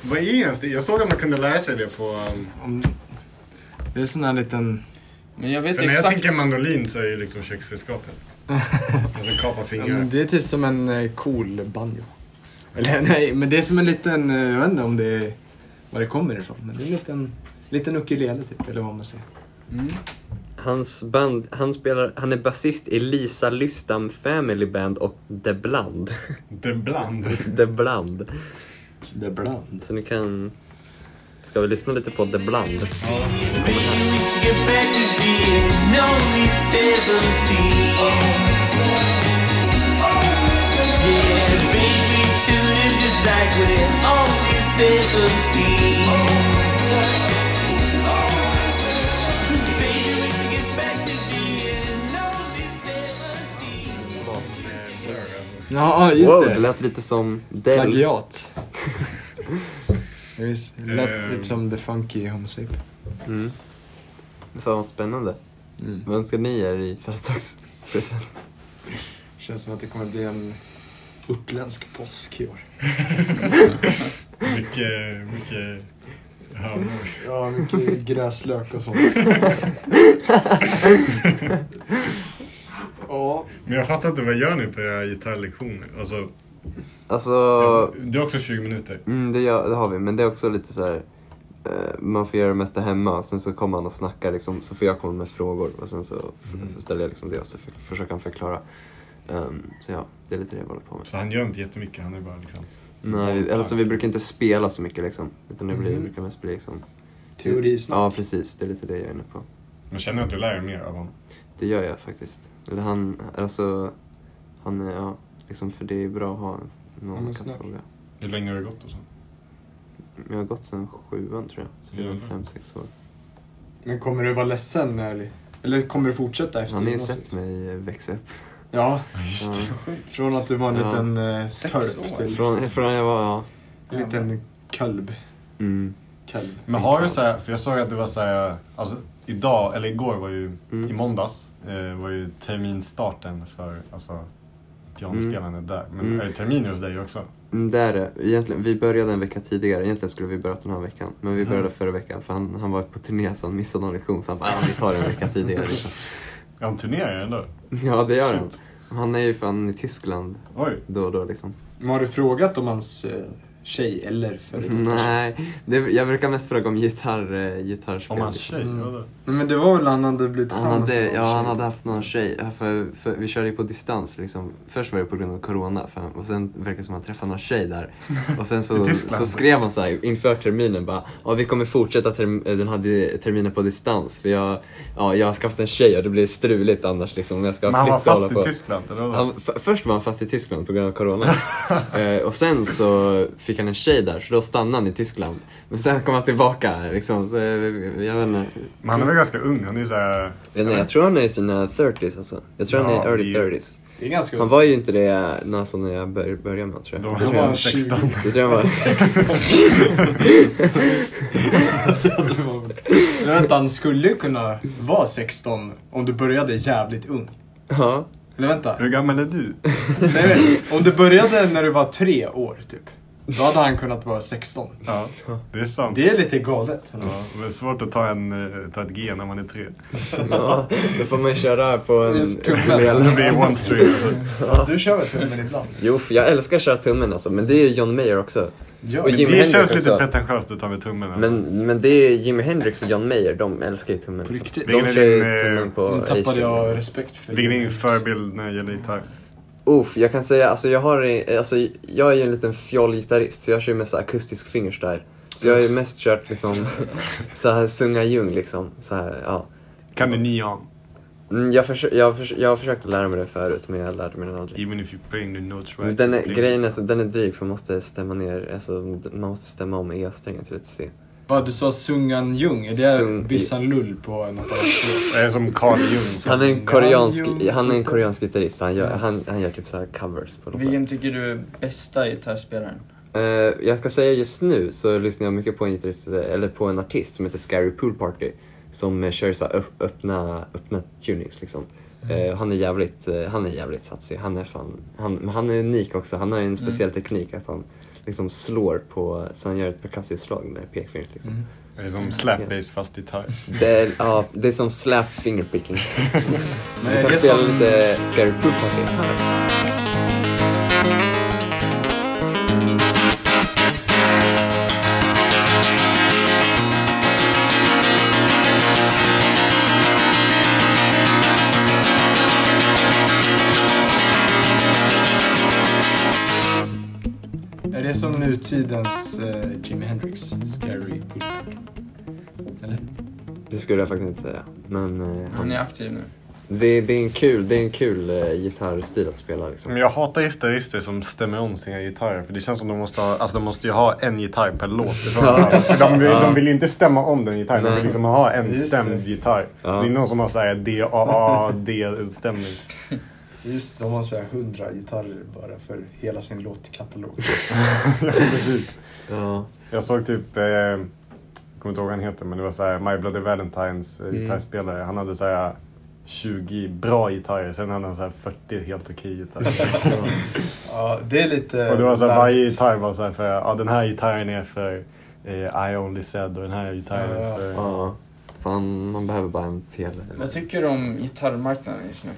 Speaker 2: Vad är ens det? Jag såg att man kunde lära sig det på... Um,
Speaker 1: det är sån här liten...
Speaker 3: Men jag vet
Speaker 2: för när jag
Speaker 3: exakt.
Speaker 2: tänker mandolin så är det liksom köksredskapet. Alltså kapa fingrar.
Speaker 1: Det är typ som en eh, cool banjo. Eller nej, men det är som en liten, eh, jag vet inte om det är, var det kommer ifrån. Men det är en liten, liten ukulele typ, eller vad man säger.
Speaker 3: Mm.
Speaker 7: Hans band, han spelar, han är basist i Lisa Lystam Family Band och The Bland.
Speaker 2: The Bland.
Speaker 7: The Bland.
Speaker 1: The Bland.
Speaker 7: Så ni kan... Ska vi lyssna lite på The Bland?
Speaker 1: Ja, just
Speaker 7: Wow,
Speaker 1: det.
Speaker 7: det lät lite som Del.
Speaker 1: Plagiat. Det visst, det lät lite som The Funky Home Sape.
Speaker 7: Mm. Fan vad spännande.
Speaker 1: Mm.
Speaker 7: Vad önskar ni er i födelsedagspresent?
Speaker 1: Känns som att det kommer bli en uppländsk påsk i år.
Speaker 2: Mycket, mycket hörnor.
Speaker 1: Ja, mycket gräslök och sånt. ja,
Speaker 2: Men jag fattar inte, vad gör ni på era gitarrlektioner? Alltså,
Speaker 7: Alltså,
Speaker 2: Det är också 20 minuter.
Speaker 7: mm, det, gör, det har vi, men det är också lite så här. eh, Man får göra det mesta hemma, sen så kommer han och snackar, liksom, så får jag komma med frågor och sen så f-
Speaker 1: Mm.
Speaker 7: ställer jag liksom det och så f- försöker han förklara. Ehm, så ja, det är lite det jag håller på med.
Speaker 2: Så han gör inte jättemycket, han är bara liksom...
Speaker 7: Nej, vi, alltså, vi brukar inte spela så mycket liksom, utan det blir,
Speaker 1: Mhm.
Speaker 7: brukar mest bli liksom...
Speaker 1: Teorisnack.
Speaker 7: Ja, precis. Det är lite det jag är inne på.
Speaker 2: Men känner du att du lär dig mer av honom?
Speaker 7: Det gör jag faktiskt. Eller han, alltså, han, är- ja, liksom för det är bra att ha någon
Speaker 1: men
Speaker 7: man kan
Speaker 1: snäll.
Speaker 7: fråga.
Speaker 2: Hur länge har det gått och så?
Speaker 7: Jag har gått sedan sjuan tror jag, så det är väl
Speaker 2: Jävlar.
Speaker 7: fem, sex år.
Speaker 1: Men kommer du vara ledsen när... Eller kommer du fortsätta efter
Speaker 7: Han har ju
Speaker 1: gymnasiet?
Speaker 7: sett mig växa upp.
Speaker 1: Ja,
Speaker 2: Just
Speaker 7: Ja.
Speaker 1: från att du var en
Speaker 7: Ja.
Speaker 1: liten eh,
Speaker 3: Sex
Speaker 1: törp
Speaker 3: år.
Speaker 1: till
Speaker 7: Från, från jag var, ja.
Speaker 1: en liten kalv.
Speaker 7: Mm.
Speaker 1: kalv.
Speaker 2: Men har du så här, för jag såg att det var så här, alltså idag, eller igår var ju,
Speaker 7: Mm.
Speaker 2: i måndags, eh, var ju terminstarten för alltså pianospelandet där. Men
Speaker 7: Mm.
Speaker 2: är det terminer hos dig också?
Speaker 7: Mm, Det är det. Egentligen, vi började en vecka tidigare. Egentligen skulle vi börjat den här veckan. Men vi började förra veckan för han, han var på turné så han missade någon lektion så han bara, "Ah, vi tar det en vecka tidigare. Liksom.
Speaker 2: Ja, han turnerar ändå.
Speaker 7: Ja, det gör han.
Speaker 2: Shit.
Speaker 7: Han är ju fan i Tyskland
Speaker 2: Oj,
Speaker 7: då och då liksom.
Speaker 1: Men har du frågat om hans eh, tjej eller före detta tjej?
Speaker 7: Nej, det, jag brukar mest fråga om gitarr, eh, gitarrspel.
Speaker 2: om hans
Speaker 7: liksom.
Speaker 2: tjej.
Speaker 1: Mm.
Speaker 2: vadå?
Speaker 1: Nej, men det var väl han hade blivit
Speaker 7: Han
Speaker 1: tillsammans
Speaker 7: hade,
Speaker 1: med
Speaker 7: ja,
Speaker 1: någon
Speaker 7: han
Speaker 1: tjej.
Speaker 7: hade haft någon tjej. ja, För, för, vi körde ju på distans liksom. Först var det på grund av corona för, och sen verkar det som att han träffade någon tjej där. Och sen
Speaker 2: I
Speaker 7: så,
Speaker 2: Tyskland.
Speaker 7: så skrev han så här inför terminen bara ja, vi kommer fortsätta term- den här di- terminen på distans för jag, ja, jag har skaffat en tjej och det blir struligt annars liksom om jag ska
Speaker 2: Men han var
Speaker 7: flytta och
Speaker 2: fast
Speaker 7: hålla
Speaker 2: i
Speaker 7: på."
Speaker 2: Tyskland, eller vadå?
Speaker 7: Han, f- först var han fast i Tyskland på grund av corona. eh, och sen så fick han en tjej där, så då stannade han i Tyskland. Men sen kom han tillbaka. Liksom, så, eh, jag, vet inte,
Speaker 2: Men han är väl ganska ung, han är ju såhär...
Speaker 7: jag, vet inte, jag tror han är i sina 30s alltså. Jag tror han
Speaker 2: Ja,
Speaker 7: är early
Speaker 2: det är-
Speaker 7: 30s.
Speaker 1: Det är ganska
Speaker 7: Han var ju inte det när, alltså, när jag bör, började med honom, tror
Speaker 2: Då
Speaker 7: jag.
Speaker 2: var
Speaker 7: Det
Speaker 2: han
Speaker 7: tror jag,
Speaker 2: bara
Speaker 1: han
Speaker 2: 16.
Speaker 7: det tror jag var 16.
Speaker 1: Det var- Men vänta, han skulle ju kunna vara 16 om du började jävligt ung.
Speaker 7: ja.
Speaker 1: Eller vänta.
Speaker 2: Hur gammal är du?
Speaker 1: Nej, nej. Om du började när du var tre år typ. Då hade han kunnat vara 16.
Speaker 2: Ja, det är sant.
Speaker 1: Det är lite galet.
Speaker 2: Ja, men det är svårt att ta, en, eh, ta ett G när man är tre.
Speaker 7: ja, då får man ju köra på en...
Speaker 1: Just tummen.
Speaker 7: rejäl-
Speaker 2: Det blir one string. Alltså.
Speaker 1: Fast du kör väl tummen ibland?
Speaker 7: Jo, för jag älskar att köra tummen alltså, men det är ju John Mayer också.
Speaker 1: Ja.
Speaker 7: Och
Speaker 2: Men
Speaker 7: Jimi
Speaker 2: det känns
Speaker 7: Hendrix
Speaker 2: lite
Speaker 7: också.
Speaker 2: pretentiöst att ta med tummen. Alltså.
Speaker 7: Men, men det är Jimi Hendrix och John Mayer, de älskar ju tummen. liksom.
Speaker 1: På riktigt?
Speaker 7: De
Speaker 2: Vilken är
Speaker 7: kör ju
Speaker 2: din, eh,
Speaker 7: tummen på
Speaker 1: Nu tappade
Speaker 7: A-string.
Speaker 1: jag respekt för
Speaker 2: Vilken är din förebild när det gäller gitarr?
Speaker 7: Uff, jag kan säga, alltså jag har, eh, alltså jag är ju en liten fjollgitarrist så jag kör ju mest så här akustisk fingerstyle. Så jag har ju mest kört liksom, så här Sunga Jung liksom. Så här, ja.
Speaker 2: Kan du nian?
Speaker 7: Mm, jag, försö- jag, förs- jag har försökt lära mig det förut men jag lärde mig den aldrig.
Speaker 2: Even if you bring the notes
Speaker 7: Men
Speaker 2: right.
Speaker 7: Den är,
Speaker 2: you play.
Speaker 7: grejen är, så, den är dryg för man måste stämma ner, alltså d- man måste stämma om E-strängen till ett C.
Speaker 1: Vad du sa Sungan Jung, är det
Speaker 7: Sung-
Speaker 1: Bissan Lull på något annat språk?
Speaker 2: Det är som Carl Jung.
Speaker 7: Han är en koreansk,
Speaker 1: Jung.
Speaker 7: han är en koreansk gitarrist, han gör, han, han gör typ så här covers på låtar.
Speaker 3: Vilken tycker du är bästa gitarrspelaren?
Speaker 7: Eh, jag ska säga just nu så lyssnar jag mycket på en, gitarrist, eller på en artist som heter Scary Pool Party som eh, kör så här öpp- öppna, öppna tunings liksom.
Speaker 1: Mm.
Speaker 7: Eh, han är jävligt, eh, han är jävligt satsig. Han är fan, han, men han är unik också. Han har
Speaker 1: Mm.
Speaker 7: en speciell teknik att han liksom slår på, så han gör ett percussive-slag med pekfingret liksom.
Speaker 1: Mm.
Speaker 2: Det är som slap bass fast gitarr.
Speaker 7: Det, är, ja, det är som slap fingerpicking.
Speaker 1: Nej,
Speaker 7: Du
Speaker 1: det är
Speaker 7: kan spela
Speaker 1: som-
Speaker 7: lite Scary Pool Party här.
Speaker 1: Är det som nutidens eh, Jimi Hendrix? Scary Pool Party? Eller?
Speaker 7: Det skulle jag faktiskt inte säga. Men eh,
Speaker 1: Mm,
Speaker 3: Han är
Speaker 7: han,
Speaker 3: aktiv nu.
Speaker 7: det, det är en kul, det är en kul eh, gitarrstil att spela liksom.
Speaker 1: Mm.
Speaker 2: Men jag hatar gitarrister som stämmer om sina gitarrer. För det känns som de måste ha, alltså de måste ju ha en gitarr per låt. Det är sånt här. För de, vill, de vill ju inte stämma om den gitarren. De
Speaker 7: Nej.
Speaker 2: vill liksom ha en
Speaker 1: Just
Speaker 2: stämd
Speaker 1: det.
Speaker 2: gitarr. Så
Speaker 7: Ja.
Speaker 2: det är någon som har såhär D, A, A, D-stämning.
Speaker 1: Just de har såhär hundra gitarrer bara för hela sin låtkatalog.
Speaker 2: Precis.
Speaker 7: Ja.
Speaker 2: Jag såg typ, eh, jag kommer inte ihåg vad han heter, men det var såhär My Bloody Valentines eh, gitarrspelare. Han hade såhär 20 bra gitarrer, sen hade han såhär 40 helt okej gitarrer.
Speaker 1: Ja, det är lite...
Speaker 2: och det var såhär,
Speaker 1: larvigt.
Speaker 2: varje gitarr var såhär för, ja den här gitarren är för eh, I Only Said och den här gitarren
Speaker 1: Ja, ja.
Speaker 2: är för...
Speaker 7: Ja. Fan, man behöver bara en tele.
Speaker 3: Vad tycker du om gitarrmarknaden just nu?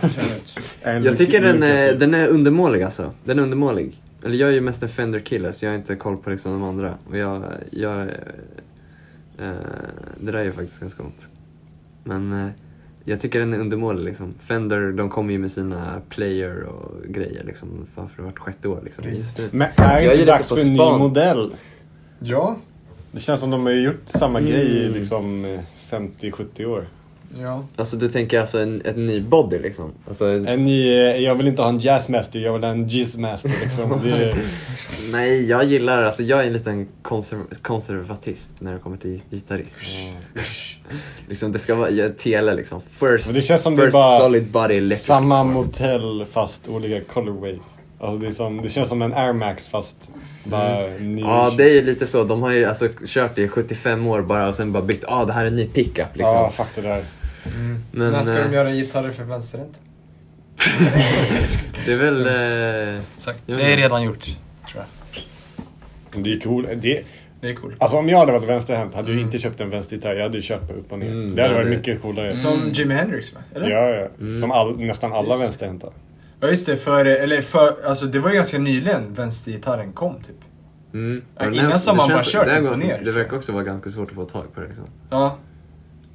Speaker 3: Kör ut.
Speaker 7: Jag tycker den är, den är undermålig alltså. Den är undermålig. Eller jag är ju mest en Fender-kille så jag har inte koll på liksom de andra. Och jag, jag, eh, det där är ju faktiskt ganska ont. Men eh, jag tycker den är undermålig liksom. Fender, de kommer ju med sina player och grejer liksom. Fan, för vart sjätte år liksom. Just nu.
Speaker 2: Men är
Speaker 7: Jag
Speaker 2: det inte
Speaker 7: gillar
Speaker 2: dags
Speaker 7: inte på
Speaker 2: för en ny
Speaker 7: span.
Speaker 2: modell?
Speaker 3: Ja,
Speaker 2: Det känns som de har gjort samma grej i
Speaker 7: Mm.
Speaker 2: liksom eh, 50-70 år.
Speaker 3: ja.
Speaker 7: Alltså du tänker alltså en, en ny body liksom? Alltså,
Speaker 2: En ny, eh, jag vill inte ha en jazzmaster, jag vill ha en jizzmaster liksom. Det är,
Speaker 7: nej, jag gillar, alltså jag är en liten konser- konservatist när det kommer till gi- gitarrist. Liksom, det ska vara ja, tele liksom. First,
Speaker 2: men det känns som det är
Speaker 7: first
Speaker 2: bara
Speaker 7: solid body electric.
Speaker 2: samma modell fast olika colorways. Alltså det, är som, det känns som en Air Max fast bara ny.
Speaker 7: Mm. Ja, det är ju lite så. De har ju alltså kört i 75 år bara och sen bara bytt. Ja, ah, det här är en ny pickup liksom.
Speaker 2: Ja, fuck det där.
Speaker 7: Men
Speaker 3: När ska
Speaker 7: eh,
Speaker 3: de göra gitarrer för vänsterhänt?
Speaker 7: det är väl... Eh,
Speaker 1: Exakt.
Speaker 7: Ja.
Speaker 1: Det är redan gjort.
Speaker 2: Men Det är cool. Det,
Speaker 1: Det är coolt.
Speaker 2: alltså om jag hade varit vänsterhänt hade jag inte köpt en vänstergitarr. Jag hade ju köpt på upp och ner.
Speaker 7: Mm,
Speaker 2: det hade
Speaker 7: ja,
Speaker 2: varit
Speaker 7: det-
Speaker 2: mycket coolare.
Speaker 1: Som Jimi Hendrix va? Eller?
Speaker 2: Ja, ja.
Speaker 7: Mm.
Speaker 2: Som all, nästan alla
Speaker 1: Just det.
Speaker 2: vänsterhänta.
Speaker 1: Ja just det, för, eller för, alltså det var ju ganska nyligen vänstergitarren kom typ.
Speaker 7: mm.
Speaker 1: Ja, innan
Speaker 7: Det
Speaker 1: som man bara
Speaker 7: känns-
Speaker 1: kört
Speaker 7: det, här
Speaker 1: upp och
Speaker 7: går-
Speaker 1: ner,
Speaker 7: det
Speaker 1: tror jag.
Speaker 7: verkar också vara ganska svårt att få tag på det liksom.
Speaker 1: Ja.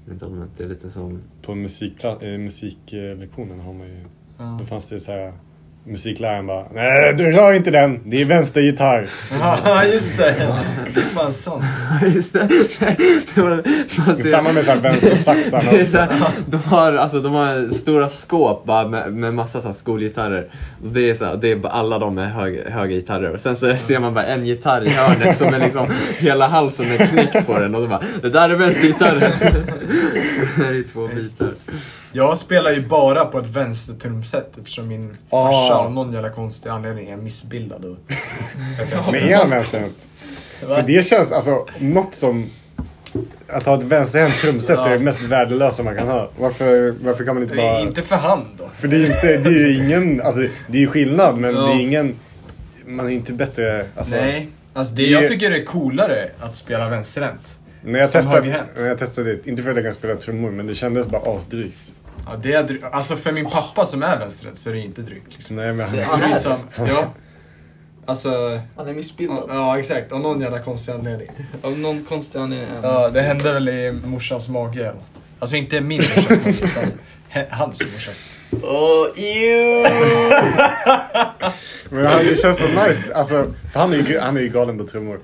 Speaker 7: Jag vet inte om Det är lite som...
Speaker 2: På musikkla- eh, musiklektionen har man ju...
Speaker 1: ja.
Speaker 2: Då fanns det så här... Musikläraren bara Nej, du rör inte den! Det är vänstergitarr!
Speaker 1: Ja, just det. Det är fan sant.
Speaker 7: Just det. det var, man
Speaker 2: Det är samma med så här vänstersaxarna
Speaker 7: Det är
Speaker 2: också.
Speaker 7: så här, de, har, alltså, de har stora skåp bara, med, med massa så här, skolgitarrer. Och det är, så här, det är bara alla de med hög, höga gitarrer. Och sen så ser man bara en gitarr i hörnet som är liksom, hela halsen är knäckt på den. Och så bara, det där är vänstergitarren. det här är ju två bitar.
Speaker 1: Jag spelar ju bara på ett vänstertrumset eftersom min
Speaker 2: Ah.
Speaker 1: farsa av någon jävla konstig anledning är missbildad. Och
Speaker 2: Men är han vänsterhänt? För det känns, alltså, något som... Att ha ett vänsterhänt trumset är det mest värdelösa man kan ha. Varför, varför kan man inte bara...
Speaker 1: Inte för hand då.
Speaker 2: För det är ju inte, det är ju ingen, alltså det är ju skillnad men
Speaker 1: Ja.
Speaker 2: det är ingen... Man är inte bättre, alltså.
Speaker 1: Nej. Alltså det
Speaker 2: Det-
Speaker 1: jag tycker är coolare att spela vänsterhänt.
Speaker 2: När jag,
Speaker 1: Som
Speaker 2: testade,
Speaker 1: högerhänt.
Speaker 2: när jag testade det, inte för att jag kan spela trummor, men det kändes bara asdrygt.
Speaker 1: Ja, det är dry- alltså för min pappa som är vänsterhänt så är det inte drygt liksom.
Speaker 2: Så nej, men,
Speaker 3: Ah,
Speaker 1: Han är ju sam- ja. Alltså,
Speaker 3: Han är missbildad.
Speaker 1: ja exakt. Av någon jävla konstig anledning.
Speaker 3: Av någon konstig anledning är han
Speaker 1: Ja, det
Speaker 3: missbildad.
Speaker 1: hände väl i morsans mage eller något. Alltså inte min morsas mage utan he- hans morsas.
Speaker 3: Åh, ew!
Speaker 2: men han, det känns så nice. Alltså, för han är ju, han är ju galen på trummor.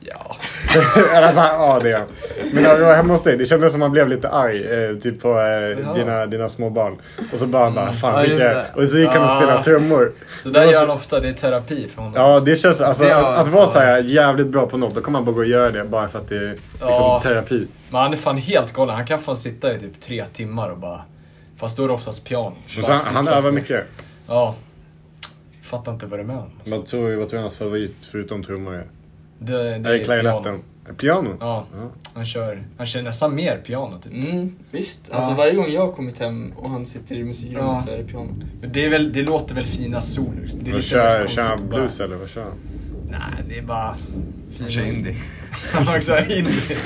Speaker 1: Ja.
Speaker 2: Eller alltså, han- ja det är han. Men när vi var hemma hos dig, det kändes som han blev lite arg. Eh, typ på eh, dina, dina små barn. Och så bara, han
Speaker 1: Mm.
Speaker 2: bara fan vilka... Och så gick han och spelade
Speaker 1: Ah.
Speaker 2: trummor.
Speaker 1: Så där gör han ofta, det är terapi för honom.
Speaker 2: Ja, det känns, alltså
Speaker 1: Det har-
Speaker 2: att, att vara så här jävligt bra på något, då kommer man bara gå och göra det bara för att det är liksom
Speaker 1: Ja.
Speaker 2: terapi.
Speaker 1: Men han är fan helt galen. Han kan fan sitta i typ tre timmar och bara... Fast då är det oftast piano.
Speaker 2: Men så
Speaker 1: Bara
Speaker 2: han, han
Speaker 1: sitta
Speaker 2: övar
Speaker 1: så.
Speaker 2: mycket.
Speaker 1: Ja. Fattar inte vad det är med honom.
Speaker 2: Vad tror du, vad tror du hans favorit, förutom trummor, är?
Speaker 1: Det, det
Speaker 2: Nej, klarinetten.
Speaker 1: piano.
Speaker 2: Piano?
Speaker 1: Ja, han kör, han kör nästan mer piano typ.
Speaker 3: Mm, visst. Alltså
Speaker 1: Ja.
Speaker 3: varje gång jag har kommit hem och han sitter i musikrummet
Speaker 1: Ja.
Speaker 3: så är det piano.
Speaker 1: Men det, är väl, det låter väl fina solor? Det är
Speaker 2: Vad
Speaker 1: lite mer
Speaker 2: kör, kör
Speaker 1: konstigt
Speaker 2: han
Speaker 1: att bara-
Speaker 2: blues eller vad kör han?
Speaker 1: Nej, det är bara... Fina
Speaker 7: Kanske indie.
Speaker 1: Han har också indie.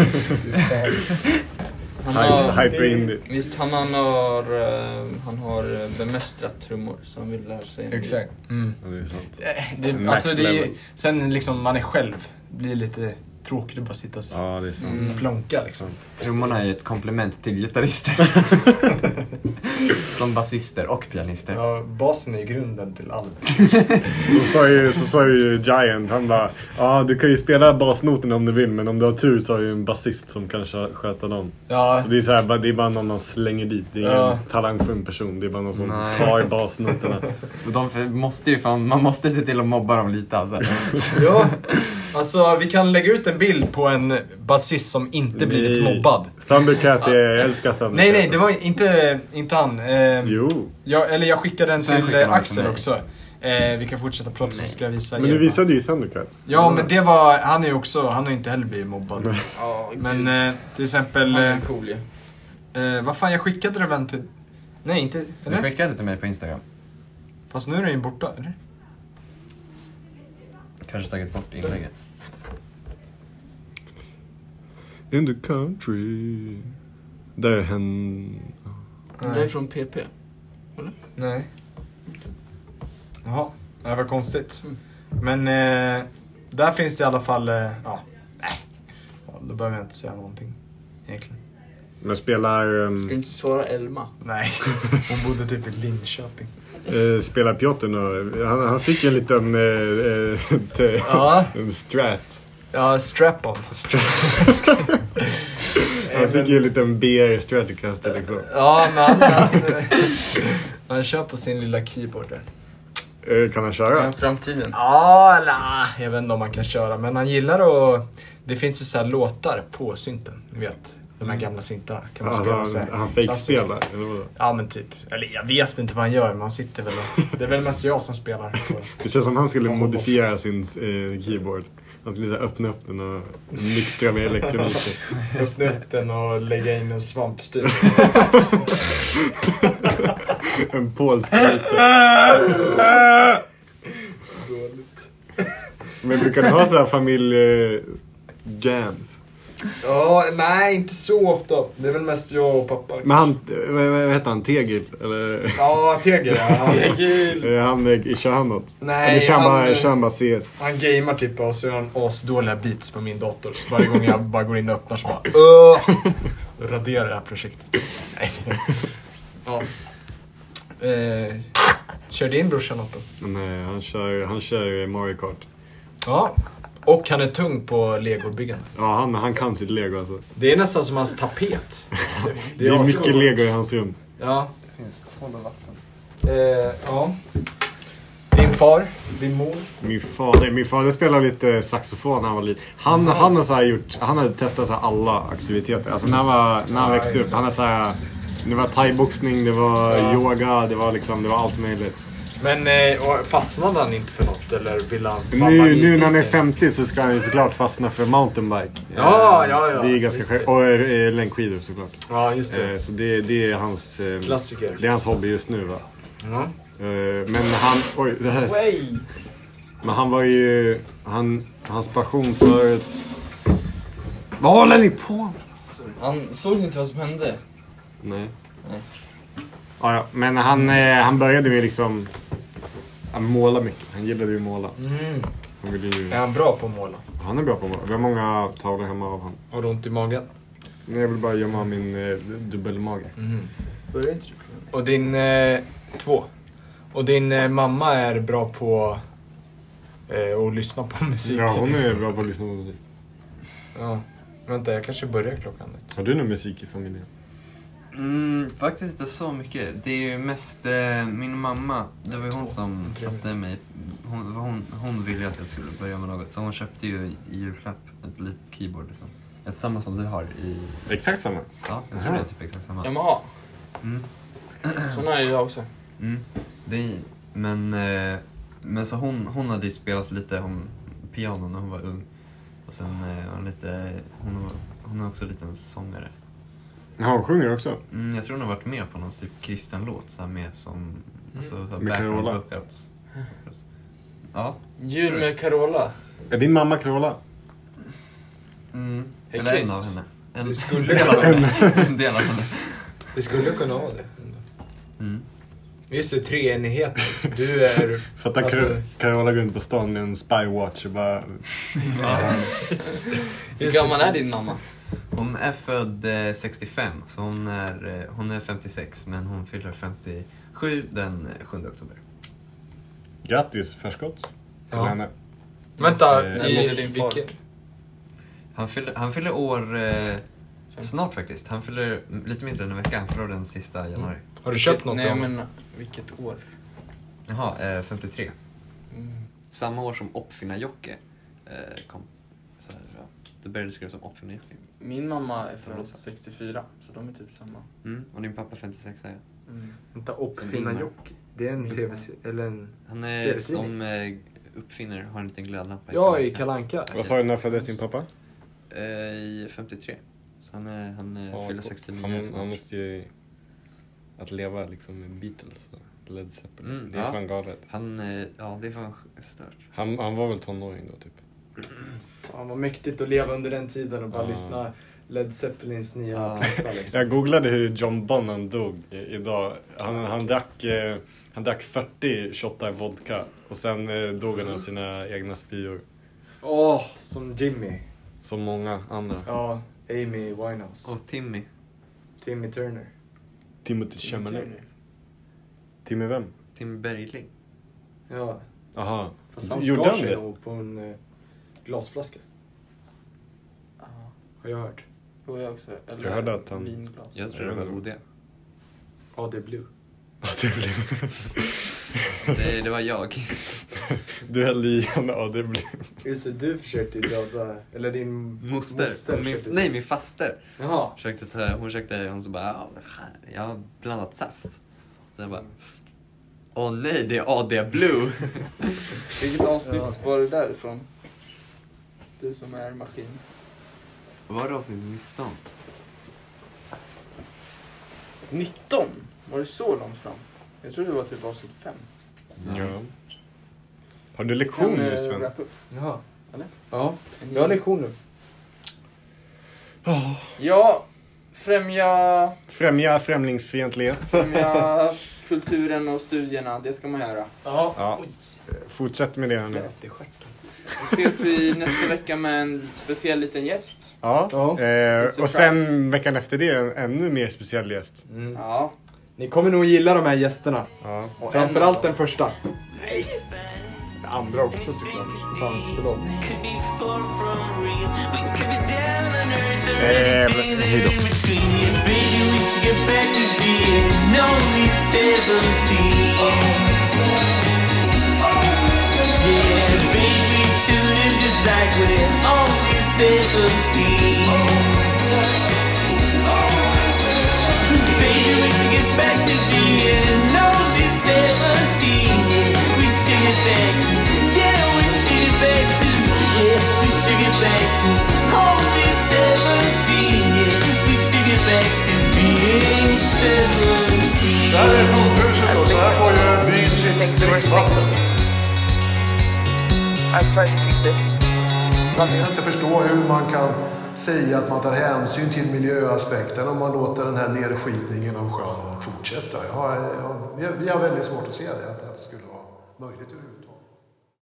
Speaker 3: Han
Speaker 2: Hype- Hyper indie.
Speaker 3: Visst, han, han, har, eh, han har eh, bemästrat trummor så han vill lära sig. en del.
Speaker 1: Exakt. Mm.
Speaker 2: Ja, det är sant.
Speaker 1: Eh, Det,
Speaker 2: Max
Speaker 1: alltså det är, ju-
Speaker 2: level.
Speaker 1: sen liksom man är själv, blir lite tråkigt att bara sitta och s-
Speaker 2: Ja, det är sant.
Speaker 1: plonka liksom.
Speaker 7: Trummorna är ju ett komplement till gitarrister. som basister och pianister.
Speaker 1: Ja, basen är ju grunden till allt.
Speaker 2: Så sa ju, så sa ju Giant, han bara ja du kan ju spela basnoterna om du vill men om du har tur så har ju en basist som kan skö- sköta dem.
Speaker 1: Ja,
Speaker 2: Så det är, så här, bara- det är bara någon man slänger dit, det är ingen
Speaker 1: Ja.
Speaker 2: talangfull person, det är bara någon som
Speaker 7: Nej.
Speaker 2: tar basnoterna.
Speaker 7: Och de för- måste ju fan, man måste se till att mobba dem lite alltså.
Speaker 1: ja. Alltså vi kan lägga ut en bild på en basist som inte blivit
Speaker 2: Nej.
Speaker 1: mobbad.
Speaker 2: Thundercat, är, jag älskar Thundercat.
Speaker 1: Nej, nej, det var inte, inte han. Eh,
Speaker 2: Jo,
Speaker 1: jag, eller jag skickade den
Speaker 7: Sen
Speaker 1: till
Speaker 7: skickade
Speaker 1: eh,
Speaker 7: han till
Speaker 1: Axel
Speaker 7: mig.
Speaker 1: också. Eh, vi kan fortsätta prata så ska jag visa
Speaker 2: men du
Speaker 1: er.
Speaker 2: visade ju Thundercat.
Speaker 1: Ja, men det var, han är ju också, han har ju inte heller blivit mobbad.
Speaker 11: Ja,
Speaker 1: Men
Speaker 11: gud.
Speaker 1: eh, till exempel,
Speaker 11: Han
Speaker 1: eh,
Speaker 11: är cool ju.
Speaker 1: eh, vad fan jag skickade den till... Nej, inte...
Speaker 7: Du
Speaker 1: Eller?
Speaker 7: skickade till mig på Instagram.
Speaker 1: Fast nu är den ju borta, eller?
Speaker 7: Kanske tagit bort inlägget.
Speaker 2: In the country. Där hen...
Speaker 3: Det är från PP.
Speaker 12: Eller?
Speaker 1: Nej. Jaha, det här var konstigt. Men eh, där finns det i alla fall, eh, ja, nej. Ja, då behöver jag inte säga någonting egentligen.
Speaker 2: Men spelar,
Speaker 13: Ska du
Speaker 2: um,
Speaker 13: inte svara Elma?
Speaker 1: Nej, hon bodde typ i Linköping.
Speaker 2: eh, spelar Piotr nå? Han, han fick ju en liten eh, eh, te-
Speaker 1: Ja,
Speaker 2: en strat.
Speaker 1: ja strap-on.
Speaker 2: Han fick ju en liten BR stratocaster liksom.
Speaker 1: Ja, men han, han, han kör på sin lilla keyboard där.
Speaker 2: Eh, kan han köra?
Speaker 13: Framtiden.
Speaker 1: Ja, la, jag vet inte om man kan köra, men han gillar att... Det finns ju så här låtar på synten, ni vet. De här gamla syntarna kan man spela
Speaker 2: Alltså,
Speaker 1: så
Speaker 2: han
Speaker 1: här.
Speaker 2: han
Speaker 1: klassiskt.
Speaker 2: fejkspelar, eller vadå?
Speaker 1: Ja men typ. Eller jag vet inte vad han gör, men han sitter väl och... Det är väl mest jag som spelar. tror jag.
Speaker 2: Det känns som han skulle modifiera sin eh, keyboard. Han skulle så här öppna upp den och mixtra med elektroniken.
Speaker 1: Öppna upp den och lägga in en svampstyr.
Speaker 2: en polsk lite. Men brukar du ha så här eh, familje-jams?
Speaker 1: Ja, nej inte så ofta. Det är väl mest jag och pappa.
Speaker 2: Men han, eh, vad, vad heter han, Tegil? Eller?
Speaker 1: Ja, Tegel ja.
Speaker 2: Eh, Han, eh, kör han något? Eller
Speaker 1: Nej,
Speaker 2: kör han bara,
Speaker 1: han,
Speaker 2: kör han bara CS?
Speaker 1: han gamer typ och så gör han asdåliga beats på min dator. Så varje gång jag bara går in och öppnar så bara "Åh!" Raderar det här projektet. Nej. Ja. Eh, kör din brorsa något då?
Speaker 2: Nej, han kör, han kör eh, Mario Kart.
Speaker 1: Ja. Och han är tung på legobyggande.
Speaker 2: Ja, han, han kan sitt lego alltså.
Speaker 1: Det är nästan som hans tapet. Det,
Speaker 2: Det är mycket lego i hans rum.
Speaker 1: Ja.
Speaker 13: Finns tvål och vatten.
Speaker 1: Eh, ja. Din far, din mor.
Speaker 2: Min fader, min fader spelade lite saxofon när han var liten. Han, han, har så här gjort, han har testat så här alla aktiviteter. Alltså när han, var, när han växte upp. Han har så här, det var thaiboxning, det var yoga, det var, liksom, det var allt möjligt.
Speaker 1: Men eh, och fastnade han inte för något eller ville han... var han
Speaker 2: Nu, nu när han är
Speaker 1: nyfiken?
Speaker 2: 50 så ska han ju såklart fastna för mountainbike.
Speaker 1: Ja,
Speaker 2: Eh,
Speaker 1: ja, ja,
Speaker 2: Det är ganska
Speaker 1: visst
Speaker 2: själv. Och eh, längdskidor såklart.
Speaker 1: Ja, just det.
Speaker 2: Eh, Så det, det, är hans, eh,
Speaker 1: Klassiker.
Speaker 2: det är hans hobby just nu. Va?
Speaker 1: Ja.
Speaker 2: Eh, Men han... Oj, det här är Men han var ju... Han, hans passion förut... Vad håller ni på med?
Speaker 13: Han såg inte vad som hände.
Speaker 2: Nej.
Speaker 13: Nej.
Speaker 2: Ja, ja. Men han, eh, han började med liksom... Han målade mycket. Han gillade ju att måla.
Speaker 1: Mm.
Speaker 2: Han, ville ju,
Speaker 1: Är han bra på att måla?
Speaker 2: han är bra på att måla. Vi har många tavlor hemma av honom.
Speaker 1: Har du ont i magen?
Speaker 2: Men jag vill bara gömma min eh, dubbelmage.
Speaker 1: Mm.
Speaker 13: Började inte du?
Speaker 1: Och din... Eh, två. Och din eh, mamma är bra på eh, att lyssna på musik.
Speaker 2: Ja, hon är bra på att liksom- lyssna på musik.
Speaker 1: Ja. Vänta, jag kanske börjar klockan ett.
Speaker 2: Har du någon musik i familjen?
Speaker 7: Mm, faktiskt inte så mycket. Det är ju mest eh, min mamma. Det var ju hon som satte mig. Hon, hon, hon ville ju att jag skulle börja med något. Så hon köpte ju i julklapp ett litet keyboard. Liksom. Ett samma som du har i...
Speaker 2: Exakt samma.
Speaker 7: Ja, jag tror det är typ exakt samma.
Speaker 3: Yamaha.
Speaker 7: Mm.
Speaker 3: Såna är jag också.
Speaker 7: Mm. Det är, men eh, men så hon, hon hade ju spelat lite hon, piano när hon var ung. Och sen eh, har hon lite, hon, har- hon är också lite en sångare.
Speaker 2: Ja, hon sjunger också.
Speaker 7: Mm, jag tror hon har varit med på någon typ kristen låt så här med som... alltså, Så, så här,
Speaker 2: Med
Speaker 7: background
Speaker 2: Carola.
Speaker 7: vocals. Ja.
Speaker 3: Jul med Carola.
Speaker 2: Är din mamma Carola?
Speaker 7: Mm.
Speaker 3: Hey,
Speaker 7: Eller en
Speaker 3: Christ.
Speaker 7: av henne. En,
Speaker 1: Det skulle
Speaker 7: del av henne. en del av henne.
Speaker 1: Det skulle kunna vara det.
Speaker 7: Mm.
Speaker 1: Just det, treenigheten. Du är...
Speaker 2: Fatta
Speaker 1: Alltså-
Speaker 2: Car- Carola gå runt på stan med en spywatch och bara...
Speaker 3: Hur gammal är din mamma?
Speaker 7: Hon är född eh, 65, så hon är, eh, hon är 56 men hon fyller 57 den eh, 7 oktober.
Speaker 2: Grattis förskott till
Speaker 1: Ja.
Speaker 2: henne.
Speaker 1: Vänta,
Speaker 2: Eh,
Speaker 1: i
Speaker 3: och din far.
Speaker 1: vilken...
Speaker 7: Han fyller, han fyller år eh, snart faktiskt. Han fyller lite mindre än en vecka. Han fyller år den sista januari.
Speaker 1: Har du köpt något
Speaker 3: Nej,
Speaker 1: av honom?
Speaker 3: men vilket år?
Speaker 7: Jaha, eh, 53.
Speaker 3: Mm.
Speaker 7: Samma år som Oppfinnarjocke eh, kom. Så här, ja. Då började det skrivas som Oppfinnarjocke.
Speaker 3: Min mamma är från 64, så de är typ samma.
Speaker 7: Mm. Och din pappa 56 är
Speaker 3: Mm.
Speaker 1: Vänta,
Speaker 7: Uppfinna Jocke.
Speaker 1: Det är
Speaker 3: en TV-serie,
Speaker 1: Eller en...
Speaker 7: Han är
Speaker 1: Serietidning.
Speaker 7: som eh, uppfinner, har en liten glödlampa
Speaker 1: Ja, i
Speaker 7: kalendern.
Speaker 1: Kalle Anka.
Speaker 2: Vad sa du när föddes din pappa?
Speaker 7: Eh, I 53. Så han, är, han eh, fyller 69
Speaker 2: han,
Speaker 7: snart.
Speaker 2: han måste ju... Att leva liksom med Beatles och Led Zeppelin.
Speaker 7: Mm,
Speaker 2: det är
Speaker 7: ja.
Speaker 2: fan galet.
Speaker 7: Han, eh, ja det var stört.
Speaker 2: Han, han var väl tonåring då typ?
Speaker 1: Fan vad mäktigt att leva under den tiden och bara
Speaker 2: Ja.
Speaker 1: lyssna, Led Zeppelins nya
Speaker 7: Ja.
Speaker 1: platta liksom.
Speaker 2: Jag googlade hur John Bonham dog i- idag. Han, han, drack, eh, han drack 40 shottar vodka och sen eh, dog han av sina egna spyor.
Speaker 1: Åh, som Jimmy.
Speaker 2: Som många andra.
Speaker 1: Ja, Amy Winehouse.
Speaker 7: Och Timmy.
Speaker 1: Timmy Turner.
Speaker 2: Timothy Chalamet. Timmy vem?
Speaker 7: Timmy Bergling.
Speaker 1: Ja,
Speaker 2: Aha.
Speaker 1: fast han
Speaker 2: Gjorde
Speaker 1: skar
Speaker 2: han
Speaker 1: sig
Speaker 2: det?
Speaker 1: nog på en eh, glasflaska. Har jag hört.
Speaker 3: Jo, jag också. Eller
Speaker 2: Jag hörde att han-
Speaker 3: Vinglas.
Speaker 7: Jag tror det var OD.
Speaker 1: Ja, det är Blue.
Speaker 2: Ja, det blev...
Speaker 7: Det, det var jag.
Speaker 2: Du hällde i en ja, det blev...
Speaker 1: Just det, du försökte ju döda, eller din
Speaker 7: Moster. min,
Speaker 1: försökte-
Speaker 7: nej, min faster.
Speaker 1: Jaha.
Speaker 7: Försökte ta, hon försökte, hon så bara, "Ja, det här- jag har blandat saft. Sen bara, åh nej, det är AD Blue.
Speaker 3: Vilket avsnitt var det därifrån? Du som är maskin.
Speaker 7: Var det avsnitt 19?
Speaker 3: 19? Var det så långt fram? Jag trodde det var typ avsnitt 5.
Speaker 2: Ja. Har du lektion nu
Speaker 1: eh,
Speaker 2: Sven?
Speaker 1: Jaha.
Speaker 3: eh, Eller?
Speaker 1: Ja, jag har lektion nu.
Speaker 3: Ja, främja,
Speaker 2: Främja främlingsfientlighet.
Speaker 3: främja kulturen och studierna. Det ska man göra.
Speaker 1: Ja.
Speaker 2: Ja. Fortsätt med det här nu.
Speaker 3: Då ses vi nästa vecka med en speciell liten gäst.
Speaker 2: Ja.
Speaker 1: Ja.
Speaker 2: Eh, och
Speaker 3: Surprise.
Speaker 2: sen veckan efter det en ännu mer speciell gäst.
Speaker 1: Mm.
Speaker 3: Ja.
Speaker 1: Ni kommer nog gilla de här gästerna.
Speaker 2: Ja.
Speaker 3: Och en-
Speaker 1: Framförallt den första. Nej. Den andra också såklart. Fan, förlåt.
Speaker 2: Eh, hej då.
Speaker 10: Där är pumphuset då, så här får ju byn sitt dricksvatten. Man kan inte förstå hur man kan säga att man tar hänsyn till miljöaspekten om man låter den här nedskitningen av sjön fortsätta. Jag har, jag, jag har väldigt svårt att se det, att det skulle vara möjligt överhuvudtaget.